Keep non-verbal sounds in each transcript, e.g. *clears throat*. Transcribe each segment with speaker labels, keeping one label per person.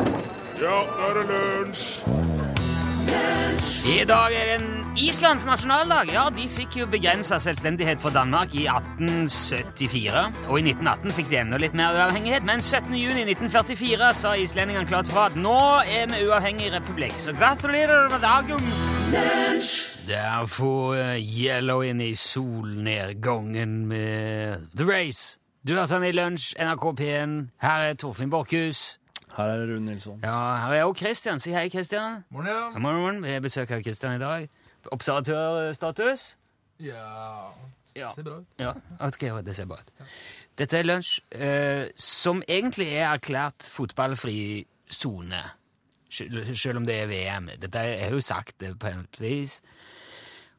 Speaker 1: Ja, nå er det lunsj!
Speaker 2: I dag er det en Islands nasjonaldag. Ja, De fikk jo begrensa selvstendighet fra Danmark i 1874. Og i 1918 fikk de enda litt mer uavhengighet, men 17.6.1944 sa islendingene klart fra at nå er vi uavhengig republikk. Så gratulerer med dagen! Der får eh, Yellow inn i solnedgangen med The Race. Du hørte han i Lunsj, NRK P1. Her er Torfinn Borchhus.
Speaker 3: Her er det Rune Nilsson.
Speaker 2: Ja, her er også Kristian. Si hei, Kristian.
Speaker 4: Morgen, ja.
Speaker 2: God morgen. Vi besøker Kristian i dag. Observatørstatus?
Speaker 4: Ja,
Speaker 2: Ja.
Speaker 4: ser bra ut.
Speaker 2: ja. Ok, ja, det ser bra ut. Dette er lunsj, eh, som egentlig er erklært fotballfri sone. Sel- Selv om det er VM. Dette er jo sagt det på en vis.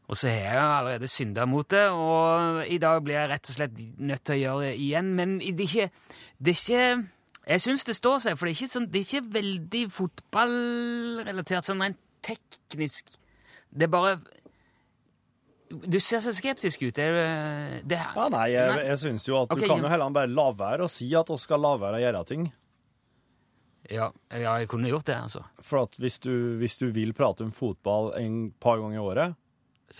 Speaker 2: Og så har jeg allerede synda mot det, og i dag blir jeg rett og slett nødt til å gjøre det igjen. Men det er ikke, det er ikke Jeg syns det står seg, for det er ikke, sånn, det er ikke veldig fotballrelatert sånn rent teknisk. Det er bare Du ser så skeptisk ut. Er du det her?
Speaker 3: Ja, nei, jeg, jeg syns jo at
Speaker 2: Ok,
Speaker 3: du kan
Speaker 2: ja.
Speaker 3: jo heller bare la være å si at vi skal la være å gjøre ting.
Speaker 2: Ja, ja, jeg kunne gjort det, altså.
Speaker 3: For at hvis du, hvis du vil prate om fotball en par ganger i året,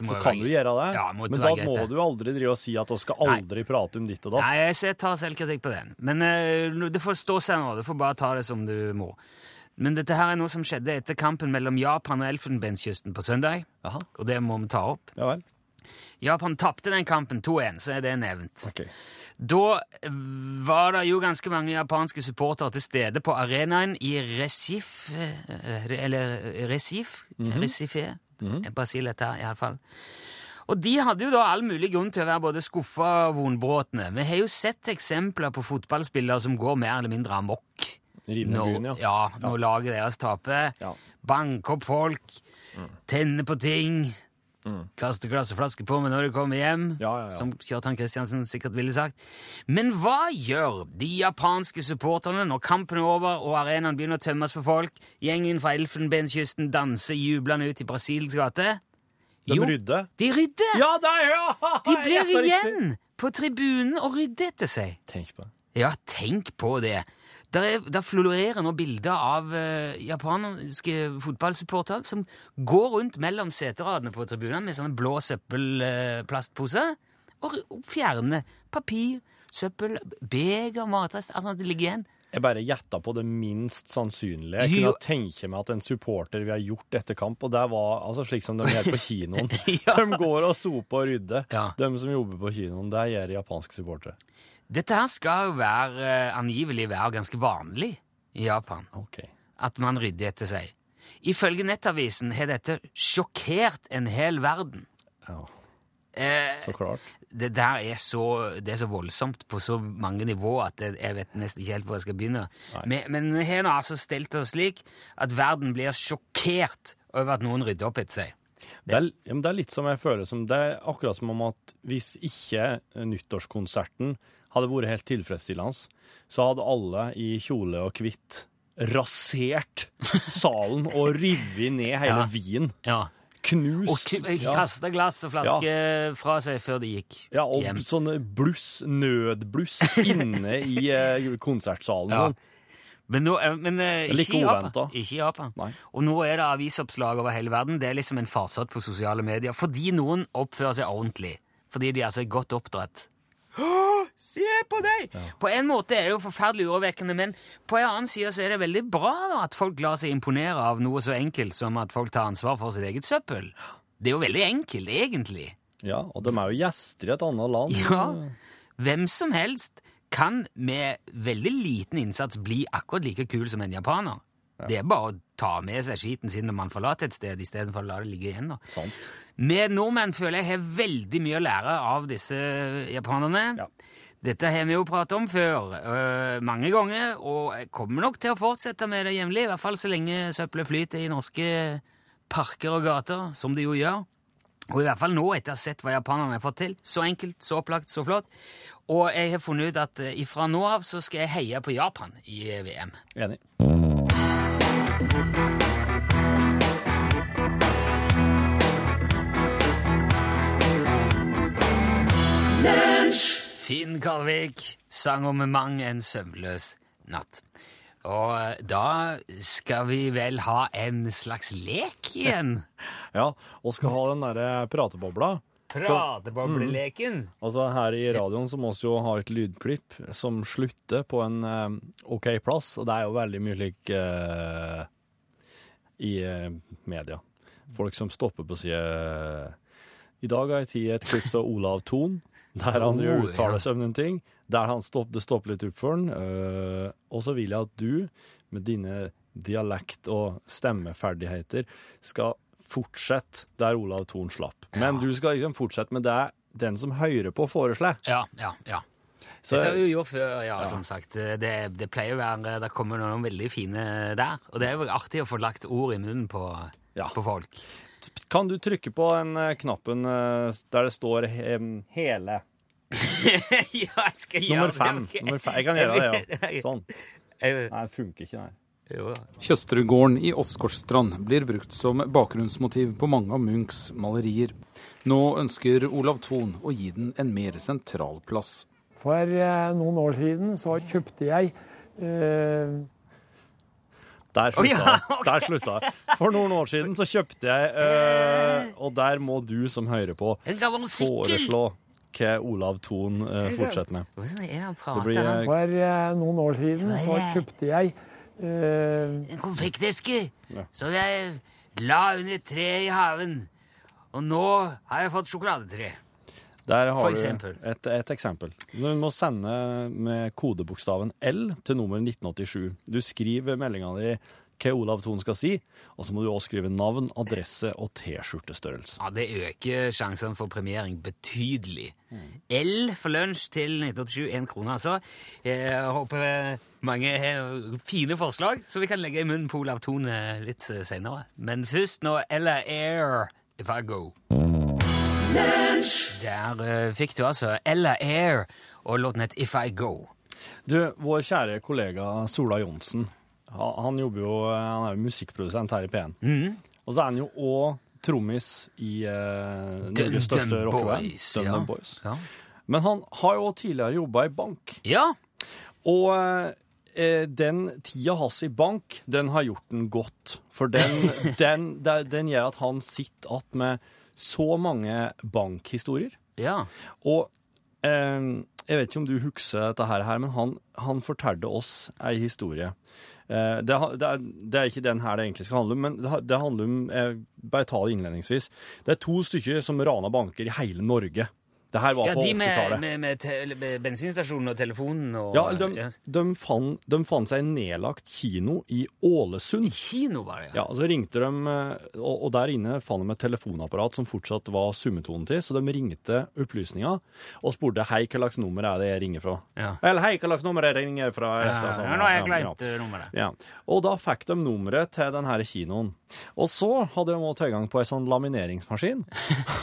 Speaker 2: må
Speaker 3: så
Speaker 2: jeg
Speaker 3: kan
Speaker 2: være-
Speaker 3: du gjøre det.
Speaker 2: Ja, det må
Speaker 3: Men
Speaker 2: være
Speaker 3: da
Speaker 2: greit,
Speaker 3: må
Speaker 2: det.
Speaker 3: du aldri drive og si at vi skal
Speaker 2: Nei.
Speaker 3: aldri prate om ditt og datt.
Speaker 2: Nei, jeg ser- tar selvkritikk på den. Men eh, nå- det får stå seg nå. Du får bare ta det som du må. Men dette her er noe som skjedde etter kampen mellom Japan og Elfenbenskysten på søndag.
Speaker 3: Jaha.
Speaker 2: Og det må vi ta opp.
Speaker 3: Ja vel.
Speaker 2: Japan tapte den kampen 2-1, så er det nevnt.
Speaker 3: Ok.
Speaker 2: Da var det jo ganske mange japanske supportere til stede på arenaen i Recife eh, Eller Recife? Recife? Eh, Brasil, dette her, iallfall. Og de hadde jo da all mulig grunn til å være både skuffa og vonbrotne. Vi har jo sett eksempler på fotballspillere som går mer eller mindre amok
Speaker 3: Rive ned
Speaker 2: når,
Speaker 3: byen, ja.
Speaker 2: ja, når laget deres taper.
Speaker 3: Ja. Mm.
Speaker 2: Banke opp folk, tenne på ting, kaste glass og flaske på meg når de kommer hjem,
Speaker 3: Ja, ja, ja.
Speaker 2: som Kjartan Kristiansen sikkert ville sagt. Men hva gjør de japanske supporterne når kampen er over og arenaen begynner å tømmes for folk, gjengen fra Elfenbenskysten danser jublende ut i Brasils gate?
Speaker 3: De
Speaker 2: Jo,
Speaker 3: rydder.
Speaker 2: De rydder!
Speaker 3: Ja, det er ja!
Speaker 2: de
Speaker 3: Jeg
Speaker 2: blir
Speaker 3: gjetter riktig.
Speaker 2: igjen på tribunen og rydder etter seg.
Speaker 3: Tenk på det.
Speaker 2: Ja, tenk på det. Der, er, der florerer nå bilder av eh, japanske fotballsupportere som går rundt mellom seteradene på tribunene med sånne blå søppelplastposer og r- fjerner papir, søppel, beger, matrest Alt annet ligger igjen.
Speaker 3: Jeg bare gjetta på det minst sannsynlige. Jeg
Speaker 2: Jo.
Speaker 3: kunne tenke meg at en supporter vi har gjort etter kamp, og det var altså slik som de gjør på
Speaker 2: *laughs*
Speaker 3: kinoen.
Speaker 2: Ja.
Speaker 3: De går og soper og rydder.
Speaker 2: Ja.
Speaker 3: De som jobber på kinoen, det gjør japanske supportere.
Speaker 2: Dette her skal jo være, eh, angivelig være ganske vanlig i Japan.
Speaker 3: Ok.
Speaker 2: at man rydder etter seg. Ifølge Nettavisen har dette sjokkert en hel verden.
Speaker 3: Ja,
Speaker 2: Eh,
Speaker 3: så klart.
Speaker 2: det der er så, det er så voldsomt på så mange nivåer at jeg, jeg vet nesten ikke helt hvor jeg skal begynne. Men, men vi har nå altså stelt oss slik at verden blir sjokkert over at noen rydder opp etter seg.
Speaker 3: Det er, ja, men det er litt som jeg føler som Det er akkurat som om at hvis ikke eh, nyttårskonserten hadde vært helt tilfredsstillende, så hadde alle i kjole og hvitt rasert salen
Speaker 2: *laughs*
Speaker 3: og revet ned hele
Speaker 2: Ja.
Speaker 3: Wien.
Speaker 2: Ja. Og
Speaker 3: Knust.
Speaker 2: k-
Speaker 3: Ja.
Speaker 2: kasta glass og flaske fra seg før de gikk
Speaker 3: Ja, og
Speaker 2: hjem.
Speaker 3: sånn bluss,
Speaker 2: *laughs*
Speaker 3: nødbluss, inne i eh, konsertsalen.
Speaker 2: Ja.
Speaker 3: sånn.
Speaker 2: Men, nå, eh, men eh,
Speaker 3: Eller
Speaker 2: ikke, i
Speaker 3: ikke
Speaker 2: Japan.
Speaker 3: uventet.
Speaker 2: ikke i Japan.
Speaker 3: Nei.
Speaker 2: Og nå er det avisoppslag over hele verden. Det er liksom en farsott på sosiale medier. Fordi noen oppfører seg ordentlig. Fordi de altså er godt oppdratt. Se på deg! På en måte er det jo forferdelig urovekkende, men på en annen side så er det veldig bra da, at folk lar seg imponere av noe så enkelt som at folk tar ansvar for sitt eget søppel. Det er jo veldig enkelt, egentlig.
Speaker 3: Ja, og de er jo gjester i et annet land.
Speaker 2: Ja, hvem som helst kan med veldig liten innsats bli akkurat like kul som en japaner. Det er bare å ta med seg skiten sin når man forlater et sted, istedenfor å la det ligge igjen. da.
Speaker 3: Sant.
Speaker 2: Vi nordmenn føler jeg har veldig mye å lære av disse japanerne.
Speaker 3: Ja.
Speaker 2: Dette har vi jo pratet om før øh, mange ganger, og jeg kommer nok til å fortsette med det jevnlig, i hvert fall så lenge søppelet flyter i norske parker og gater, som det jo gjør. Og i hvert fall nå, etter å ha sett hva japanerne har fått til. Så enkelt, så opplagt, så flott. Og jeg har funnet ut at eh, ifra nå av så skal jeg heie på Japan i eh, VM.
Speaker 3: Enig.
Speaker 2: Finn Kalvik sang om mang en søvnløs natt. Og eh, da skal vi vel ha en slags lek *laughs* igjen?
Speaker 3: Ja, og skal ha den derre pratebobla.
Speaker 2: Pratebobleleken.
Speaker 3: Altså Her i radioen så må vi jo ha et lydklipp som slutter på en eh, OK plass, og det er jo veldig mye slik eh, i eh, media. Folk som stopper på å si eh, I dag har jeg tid et klipp av Olav Thon, der han
Speaker 2: Oh,
Speaker 3: jo
Speaker 2: ja.
Speaker 3: uttaler seg om noen ting. Der han stopp, det stopper litt opp for han. eh, og så vil jeg at du, med dine dialekt- og stemmeferdigheter, skal fortsette der Olav Thon slapp. Men
Speaker 2: Ja.
Speaker 3: du skal liksom fortsette med det den som hører på, foreslår.
Speaker 2: Ja, ja, ja.
Speaker 3: Så
Speaker 2: Dette har vi jo gjort før, ja, som sagt. Det, det pleier å være Det kommer noen veldig fine der. Og det er jo artig å få lagt ord i munnen på,
Speaker 3: Ja.
Speaker 2: på folk.
Speaker 3: kan du trykke på den eh, knappen eh, der det står eh, hele.
Speaker 2: *laughs* ja, jeg skal gjøre
Speaker 3: Nummer
Speaker 2: det.
Speaker 3: fem.
Speaker 2: Ok.
Speaker 3: Nummer fem. Jeg kan gjøre
Speaker 2: *laughs*
Speaker 3: det, ja. Sånn.
Speaker 2: Jeg-
Speaker 3: Nei, det funker ikke, nei.
Speaker 2: jo da.
Speaker 4: Tjøsterudgården i Åsgårdstrand blir brukt som bakgrunnsmotiv på mange av Munchs malerier. Nå ønsker Olav Thon å gi den en mer sentral plass.
Speaker 5: For eh, noen år siden så kjøpte jeg eh,
Speaker 3: Der slutta jeg. Der slutta jeg. For noen år siden så kjøpte
Speaker 2: *laughs*
Speaker 3: jeg eh, Og der må du som hører på,
Speaker 2: En gammel sykkel!
Speaker 3: foreslå hva Olav Thon eh, fortsetter med.
Speaker 2: Hvordan er det han
Speaker 3: Det
Speaker 2: prater?
Speaker 3: blir
Speaker 2: han?
Speaker 3: eh,
Speaker 5: For eh, noen år siden så kjøpte jeg eh,
Speaker 2: en konfekteske som jeg la under treet i haven. Og nå har jeg fått sjokoladetre.
Speaker 3: Der har
Speaker 2: For
Speaker 3: du
Speaker 2: eksempel.
Speaker 3: et, et eksempel. Du må sende med kodebokstaven L til nummer 1987. Du skriver meldinga di hva Olav Thon skal si, og så må du også skrive navn, adresse og T-skjortestørrelse.
Speaker 2: Ja, Det øker sjansene for premiering betydelig. L for lunsj til 1987, én krone altså. Jeg håper eh, mange har fine forslag som vi kan legge i munnen på Olav Thon eh, litt seinere. Men først nå Ella Air If I Go. Der eh, fikk du altså Ella Air og låten het If I Go.
Speaker 3: Du, vår kjære kollega Sola Johnsen, ha- han jobber jo Han er jo musikkprodusent her i P1.
Speaker 2: Mm.
Speaker 3: Og så er han jo òg trommis i eh, Norges største
Speaker 2: Dum Dum
Speaker 3: rockeband,
Speaker 2: Boys,
Speaker 3: Dum
Speaker 2: ja.
Speaker 3: Dum Boys.
Speaker 2: Ja.
Speaker 3: Men han har jo tidligere jobba i bank.
Speaker 2: ja.
Speaker 3: Og eh, den tida hans i bank, den har gjort den godt. For den,
Speaker 2: *laughs*
Speaker 3: den, den, den gjør at han sitter igjen med så mange bankhistorier.
Speaker 2: Ja.
Speaker 3: Og eh, jeg vet ikke om du husker dette her, her, men han, han fortalte oss ei historie. Eh, det, ha- det, er, det er ikke den her det egentlig skal handle om, men det, ha- det handler om jeg Bare ta det innledningsvis. Det er to stykker som rana banker i hele Norge. Det her var
Speaker 2: ja
Speaker 3: på
Speaker 2: de
Speaker 3: 80-tallet.
Speaker 2: med, med, med, te- med bensinstasjonen og telefonen og
Speaker 3: Ja, eller de, de, fant, de fant seg en nedlagt kino i Ålesund.
Speaker 2: Kino var det, ja.
Speaker 3: Ja, og Så ringte de, eh, og, og der inne fant de et telefonapparat som fortsatt var summetonen til, så de ringte opplysninga og spurte hei, hva slags nummer er det jeg ringer fra.
Speaker 2: Ja.
Speaker 3: Eller hei, hva slags nummer er det jeg ringer fra?
Speaker 2: Ja,
Speaker 3: Etter sånn,
Speaker 2: nå har jeg
Speaker 3: ja, ja.
Speaker 2: glemt eh, nummeret.
Speaker 3: Ja, og da fikk de nummeret til denne kinoen. Og så hadde de også tilgang på en sånn lamineringsmaskin,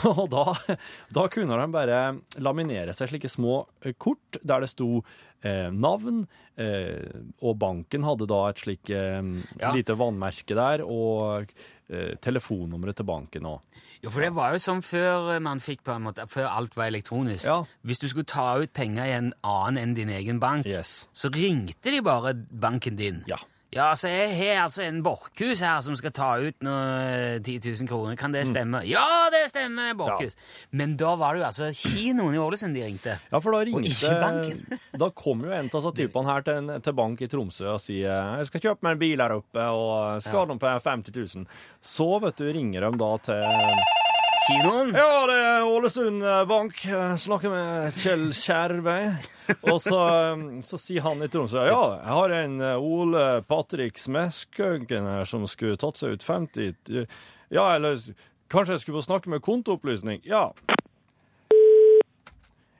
Speaker 3: *laughs* og da, da kunne de bare laminere seg slike små eh, kort der det sto eh, navn, eh, og banken hadde da et slik eh,
Speaker 2: Ja.
Speaker 3: lite vannmerke der, og eh, telefonnummeret til banken også.
Speaker 2: Jo, for det var jo sånn før man fikk på en måte, før alt var elektronisk.
Speaker 3: Ja.
Speaker 2: Hvis du skulle ta ut penger i en annen enn din egen bank,
Speaker 3: Yes.
Speaker 2: så ringte de bare banken din.
Speaker 3: Ja.
Speaker 2: Ja, så jeg har altså en borkhus her som skal ta ut noe, eh, 10 000 kroner. Kan
Speaker 3: Mm.
Speaker 2: det stemme? Ja, det stemmer! det er Borkhus. Men da var det jo altså kinoen i Ålesund de ringte.
Speaker 3: Ja, for da
Speaker 2: ikke
Speaker 3: ringte
Speaker 2: banken.
Speaker 3: *laughs* Da kom jo en av så typene her til, en, til bank i Tromsø og sier Jeg skal kjøpe meg en bil her oppe og skal ha noen på 50 000. Så vet du, ringer de da til
Speaker 2: Kinoen?
Speaker 3: Ja, det er Ålesund eh, Bank. Jeg Snakker med Kjell Skjervøy. Og så, eh, så sier han i Tromsø Ja, jeg har en eh, Ole Patrick Smeskøgen her som skulle tatt seg ut 50 Ja, eller kanskje jeg skulle få snakke med kontoopplysning? Ja.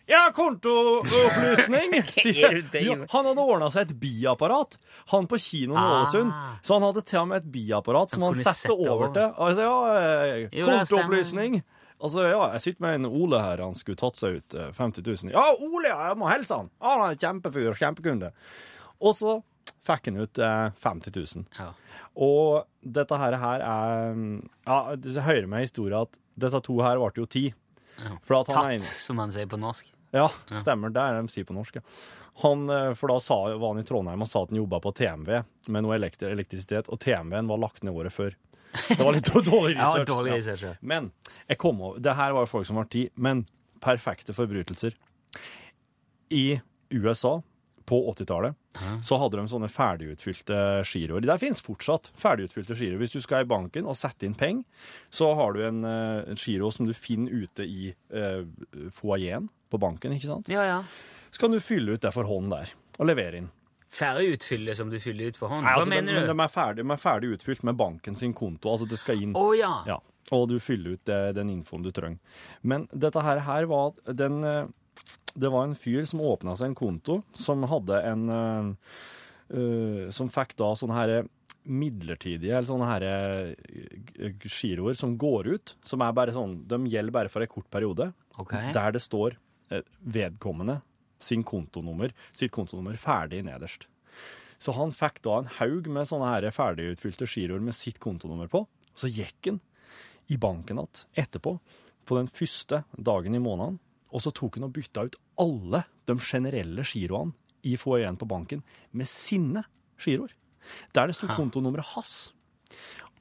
Speaker 3: Ja, kontoopplysning! *laughs* sier ja, Han hadde ordna seg et biapparat, han på kinoen i
Speaker 2: Ah.
Speaker 3: Ålesund. Så han hadde til og med et biapparat som han
Speaker 2: kunne
Speaker 3: sette
Speaker 2: sette
Speaker 3: over
Speaker 2: over.
Speaker 3: til. Altså, ja, eh,
Speaker 2: Jo, det stemmer.
Speaker 3: kontoopplysning. Altså, ja, jeg sitter med en Ole her, han skulle tatt seg ut eh, 50 000. Ja, Ole, ja, jeg må hilse han! Ja, han er en kjempefyr, kjempekunde. Og så fikk han ut eh, 50 000.
Speaker 2: Ja.
Speaker 3: Og dette her, her er mm, Ja, du hører med historien at disse to her ble jo ti. For at han
Speaker 2: Tatt,
Speaker 3: ene-
Speaker 2: som man sier på norsk.
Speaker 3: ja, stemmer. Det er det de sier på norsk, ja. Han, eh, for da sa, var han i Trondheim og sa at han jobba på TMV med noe elektri elektrisitet, og TMV-en var lagt ned året før. Det var litt *laughs* dårlig
Speaker 2: Ja,
Speaker 3: research.
Speaker 2: dårlig
Speaker 3: Ja.
Speaker 2: research, ja.
Speaker 3: Men jeg kom over, det her var jo folk som var ti, men perfekte forbrytelser. I USA på 80-tallet så hadde de sånne ferdigutfylte giroer. Der finnes fortsatt ferdigutfylte giroer. Hvis du skal i banken og sette inn penger, så har du en eh, giro som du finner ute i uh, foajeen på banken, ikke sant?
Speaker 2: Ja, ja.
Speaker 3: Så kan du fylle ut det for hånd der, og levere inn.
Speaker 2: Færre utfyller som du fyller ut for hånd.
Speaker 3: Nei,
Speaker 2: Hva
Speaker 3: altså,
Speaker 2: mener
Speaker 3: de,
Speaker 2: du?
Speaker 3: de, er ferdig, de er ferdig utfylt med banken sin konto. Altså, det skal inn.
Speaker 2: Å ja.
Speaker 3: Ja, og du fyller ut det, den infoen du trenger. Men dette her, her var at den eh, Det var en fyr som åpna seg en konto, som hadde en eh, eh, Som fikk da sånne her eh, midlertidige, eller sånne her eh, g- giroer som går ut, som er bare sånn De gjelder bare for en kort periode,
Speaker 2: Ok.
Speaker 3: der det står eh, vedkommende sin kontonummer, sitt kontonummer ferdig nederst. Så han fikk da en haug med sånne her ferdigutfylte giroer med sitt kontonummer på. Og så gikk han i banken igjen etterpå, på den første dagen i måneden, og så tok han og bytta ut alle de generelle giroene i foajeen på banken med sine giroer. Der det sto kontonummeret hans.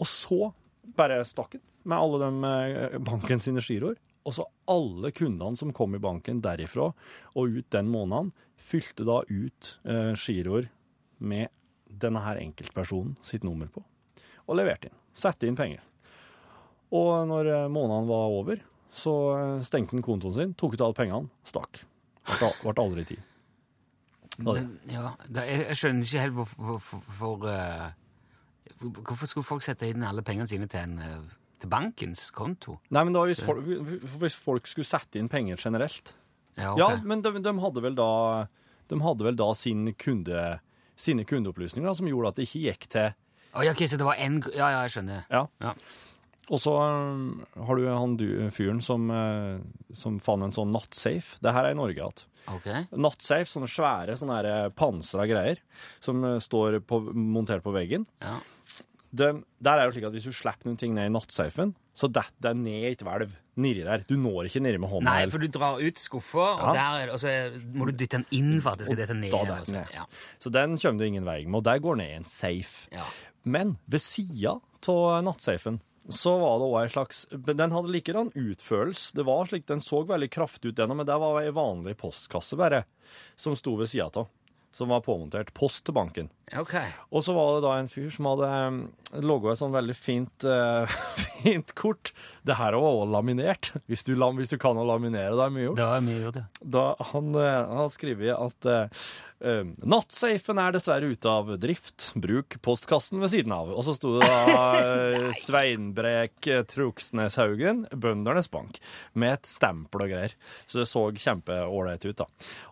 Speaker 3: Og så bare stakk han med alle de eh, banken sine giroer. Og så alle kundene som kom i banken derifra og ut den måneden, fylte da ut eh, giroer med denne her enkeltpersonen sitt nummer på, og leverte inn. Sette inn penger. Og når eh, måneden var over, så eh, stengte han kontoen sin, tok ut alle pengene, stakk. Ble al- ble aldri tid. Det var det.
Speaker 2: Men, ja, da, jeg, jeg skjønner ikke helt hvorfor hvorfor, hvorfor, eh, hvor- hvorfor skulle folk sette inn alle pengene sine til, en, eh, til bankens konto?
Speaker 3: Nei, men det var hvis folk, hvis folk skulle sette inn penger generelt.
Speaker 2: Ja,
Speaker 3: Ja,
Speaker 2: ok.
Speaker 3: men de, de hadde vel da, de hadde vel da sin kunde, sine kundeopplysninger da, som gjorde at det ikke gikk til
Speaker 2: Å, ja, ok, så det var en, ja, ja, jeg skjønner.
Speaker 3: Ja.
Speaker 2: Ja.
Speaker 3: Og så um, har du han du, fyren som, eh, som fant en sånn nattsafe. Det her er i Norge igjen.
Speaker 2: Ok.
Speaker 3: Nattsafe, sånne svære sånne her, eh, pansra greier som eh, står på, montert på veggen.
Speaker 2: Ja.
Speaker 3: De, der er det jo slik at Hvis du slipper noen ting ned i nattsafen, så detter det ned i et hvelv nedi der. Du når ikke nedi med hånda.
Speaker 2: Nei,
Speaker 3: eller-
Speaker 2: for du drar ut skuffa, og,
Speaker 3: Ja.
Speaker 2: der er det- og så er- må du dytte den inn for at det skal dette ned.
Speaker 3: da
Speaker 2: og
Speaker 3: detter den
Speaker 2: sånn.
Speaker 3: ned.
Speaker 2: Ja.
Speaker 3: Så den kommer du ingen vei med, og der går ned i en safe.
Speaker 2: Ja.
Speaker 3: Men ved sida av nattsafen så var det også en slags men Den hadde likedan utførelse. Det var slik, Den så veldig kraftig ut, denne, men det var ei vanlig postkasse bare, som sto ved sida av. Som var påmontert. Post til banken.
Speaker 2: Ok.
Speaker 3: Og så var det da en fyr som hadde logga et sånn veldig fint, eh, *laughs* fint kort. Det her var også laminert. Hvis du, lam- hvis du kan å laminere, det er mye gjort
Speaker 2: Da er mye gjort, ja.
Speaker 3: da han, eh, han skriver at eh, eh, nattsafen er dessverre ute av drift. Bruk postkassen ved siden av. Og så sto det da eh, Sveinbrek Truksneshaugen, Bøndernes Bank, med et stempel og greier. Så det så kjempeålreit ut, da.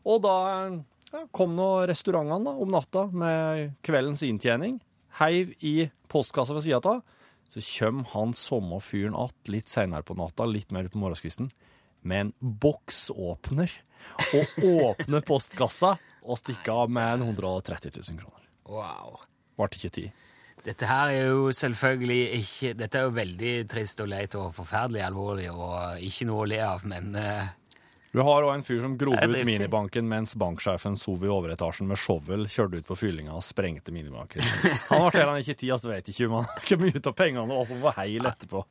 Speaker 3: Og da ja, kom nå restaurantene da, om natta med kveldens inntjening. Heiv i postkassa ved sida av. Så kjem han samme fyren att litt seinere på natta, litt mer på morgenskvisten, med en boksåpner og åpner postkassa og stikker av med en 130 000 kroner.
Speaker 2: Wow.
Speaker 3: Varte ikke tid.
Speaker 2: Dette her er jo selvfølgelig ikke Dette er jo veldig trist og leit og forferdelig alvorlig og ikke noe å le av, men eh,
Speaker 3: Du har òg en fyr som grodde
Speaker 2: Det er
Speaker 3: ut
Speaker 2: driftig.
Speaker 3: minibanken mens banksjefen sov i overetasjen med shovel, kjørte ut på fyllinga og sprengte minibanken. Han har heller ikke tid, så vet ikke om han kom ut av pengene og som var heil etterpå.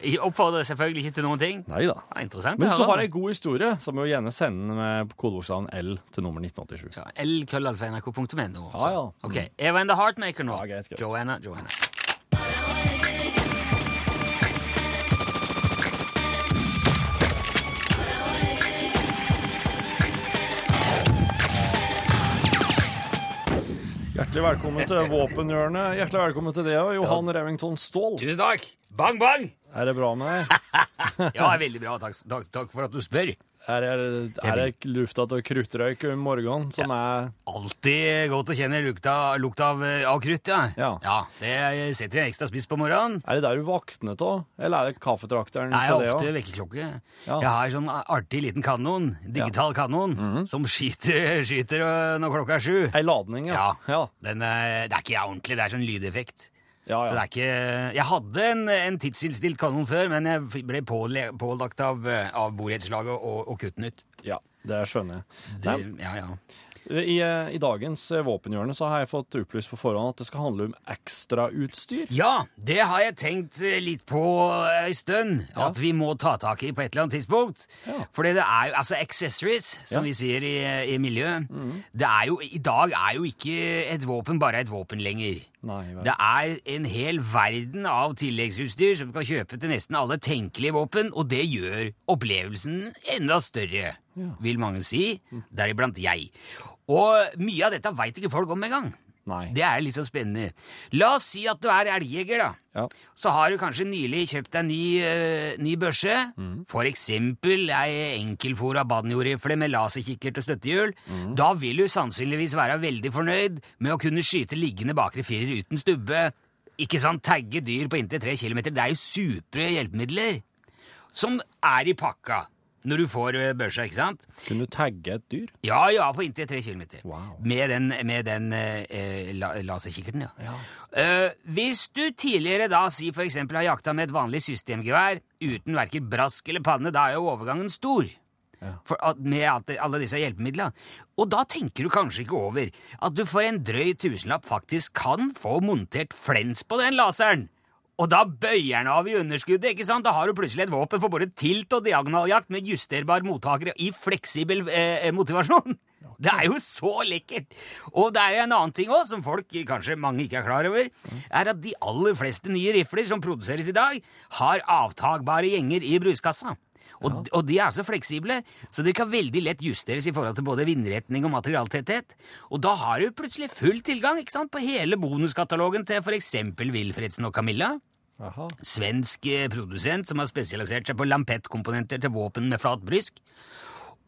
Speaker 2: jeg oppfordrer selvfølgelig ikke til noen ting.
Speaker 3: Nei da.
Speaker 2: Ja, interessant.
Speaker 3: Men hvis
Speaker 2: å
Speaker 3: du
Speaker 2: høre.
Speaker 3: har ei god historie, så må du gjerne sende den med kodebokstaven L til nummer 1987.
Speaker 2: Ja, L-krøllalfa.nrk.no.
Speaker 3: Ja,
Speaker 2: altså.
Speaker 3: ja.
Speaker 2: Ok, Eva and the Heartmaker nå.
Speaker 3: Ja, greit, greit.
Speaker 2: Joanna, Joanna.
Speaker 3: Hjertelig velkommen til våpenhjørnet. Hjertelig velkommen til det, Johan Remington Ståhl.
Speaker 2: Tusen takk! Bang, *laughs* bang!
Speaker 3: Er det bra med deg?
Speaker 2: Ja, veldig bra. Takk, takk, takk for at du spør.
Speaker 3: Er det, er det lufta til kruttrøyk om morgenen som er
Speaker 2: Alltid godt å kjenne lukta, lukta av, eh, av krutt, ja.
Speaker 3: Ja.
Speaker 2: Det setter en ekstra spiss på morgenen.
Speaker 3: Er det der du våkner av, eller er det kaffetrakteren?
Speaker 2: Nei,
Speaker 3: for det
Speaker 2: ofte
Speaker 3: også?
Speaker 2: vekkerklokke.
Speaker 3: Ja.
Speaker 2: Jeg har en sånn artig liten kanon, digital kanon,
Speaker 3: Mhm.
Speaker 2: som skyter, *laughs* skyter øh, når klokka er sju.
Speaker 3: Ei ladning,
Speaker 2: Ja.
Speaker 3: ja. Ja,
Speaker 2: Den, øh, det er ikke ordentlig, det er sånn lydeffekt.
Speaker 3: ja,
Speaker 2: Så det
Speaker 3: ja.
Speaker 2: er ikke... Jeg hadde en, en tidsinnstilt kanon før, men jeg f- ble påle- pålagt av, eh, av borettslaget å å kutte den ut.
Speaker 3: ja det skjønner jeg.
Speaker 2: Det,
Speaker 3: Nei,
Speaker 2: ja, ja.
Speaker 3: I, eh, I dagens eh, våpenhjørne så har jeg fått opplyst på forhånd at det skal handle om ekstrautstyr.
Speaker 2: Ja, det har jeg tenkt eh, litt på eh, en stund. At vi må ta tak i på et eller annet tidspunkt.
Speaker 3: Ja.
Speaker 2: Fordi det er jo altså accessories, som
Speaker 3: Ja. Mm.
Speaker 2: vi sier i, i miljøet. Det er jo, I dag er jo ikke et våpen bare et våpen lenger.
Speaker 3: Nei, vel.
Speaker 2: Det er en hel verden av tilleggsutstyr som kan kjøpe til nesten alle tenkelige våpen, og det gjør opplevelsen enda større, vil mange si,
Speaker 3: Mm.
Speaker 2: deriblant jeg. Og mye av dette veit ikke folk om engang.
Speaker 3: Nei.
Speaker 2: Det er litt så spennende. La oss si at du er elgjeger, da.
Speaker 3: Ja.
Speaker 2: Så har du kanskje nylig kjøpt deg ny, eh, ny børse. For eksempel ei enkelfòra banjorifle med laserkikkert og støttehjul. Da vil du sannsynligvis være veldig fornøyd med å kunne skyte liggende bakre firer uten stubbe. Ikke sant, tagge dyr på inntil tre kilometer. Det er jo supre hjelpemidler som er i pakka når du får eh, børsa, ikke sant?
Speaker 3: Kunne du tagge et dyr?
Speaker 2: Ja, ja, på inntil tre kilometer.
Speaker 3: Wow.
Speaker 2: Med den, med den eh, eh, la, laserkikkerten, ja. Eh, hvis du tidligere da, si for eksempel, har jakta med et vanlig systemgevær uten verken brask eller panne, da er jo overgangen stor. For, at- med alt, det- alle disse hjelpemidlene. Og da tenker du kanskje ikke over at du for en drøy tusenlapp faktisk kan få montert flens på den laseren. Og da bøyer den av i underskuddet, ikke sant? Da har du plutselig et våpen for både tilt og diagonaljakt med justerbar mottaker i fleksibel eh, motivasjon. Det er jo så lekkert! Og det er jo en annen ting òg, som folk kanskje mange ikke er klar over, er at de aller fleste nye rifler som produseres i dag, har avtagbare gjenger i bruskassa. Og, og de er så fleksible, så de kan veldig lett justeres i forhold til både vindretning og materialtetthet. Og da har du plutselig full tilgang ikke sant, på hele bonuskatalogen til for eksempel Wilfredsen og Camilla.
Speaker 3: Aha.
Speaker 2: Svensk eh, produsent som har spesialisert seg på lampettkomponenter til våpen med flat brysk.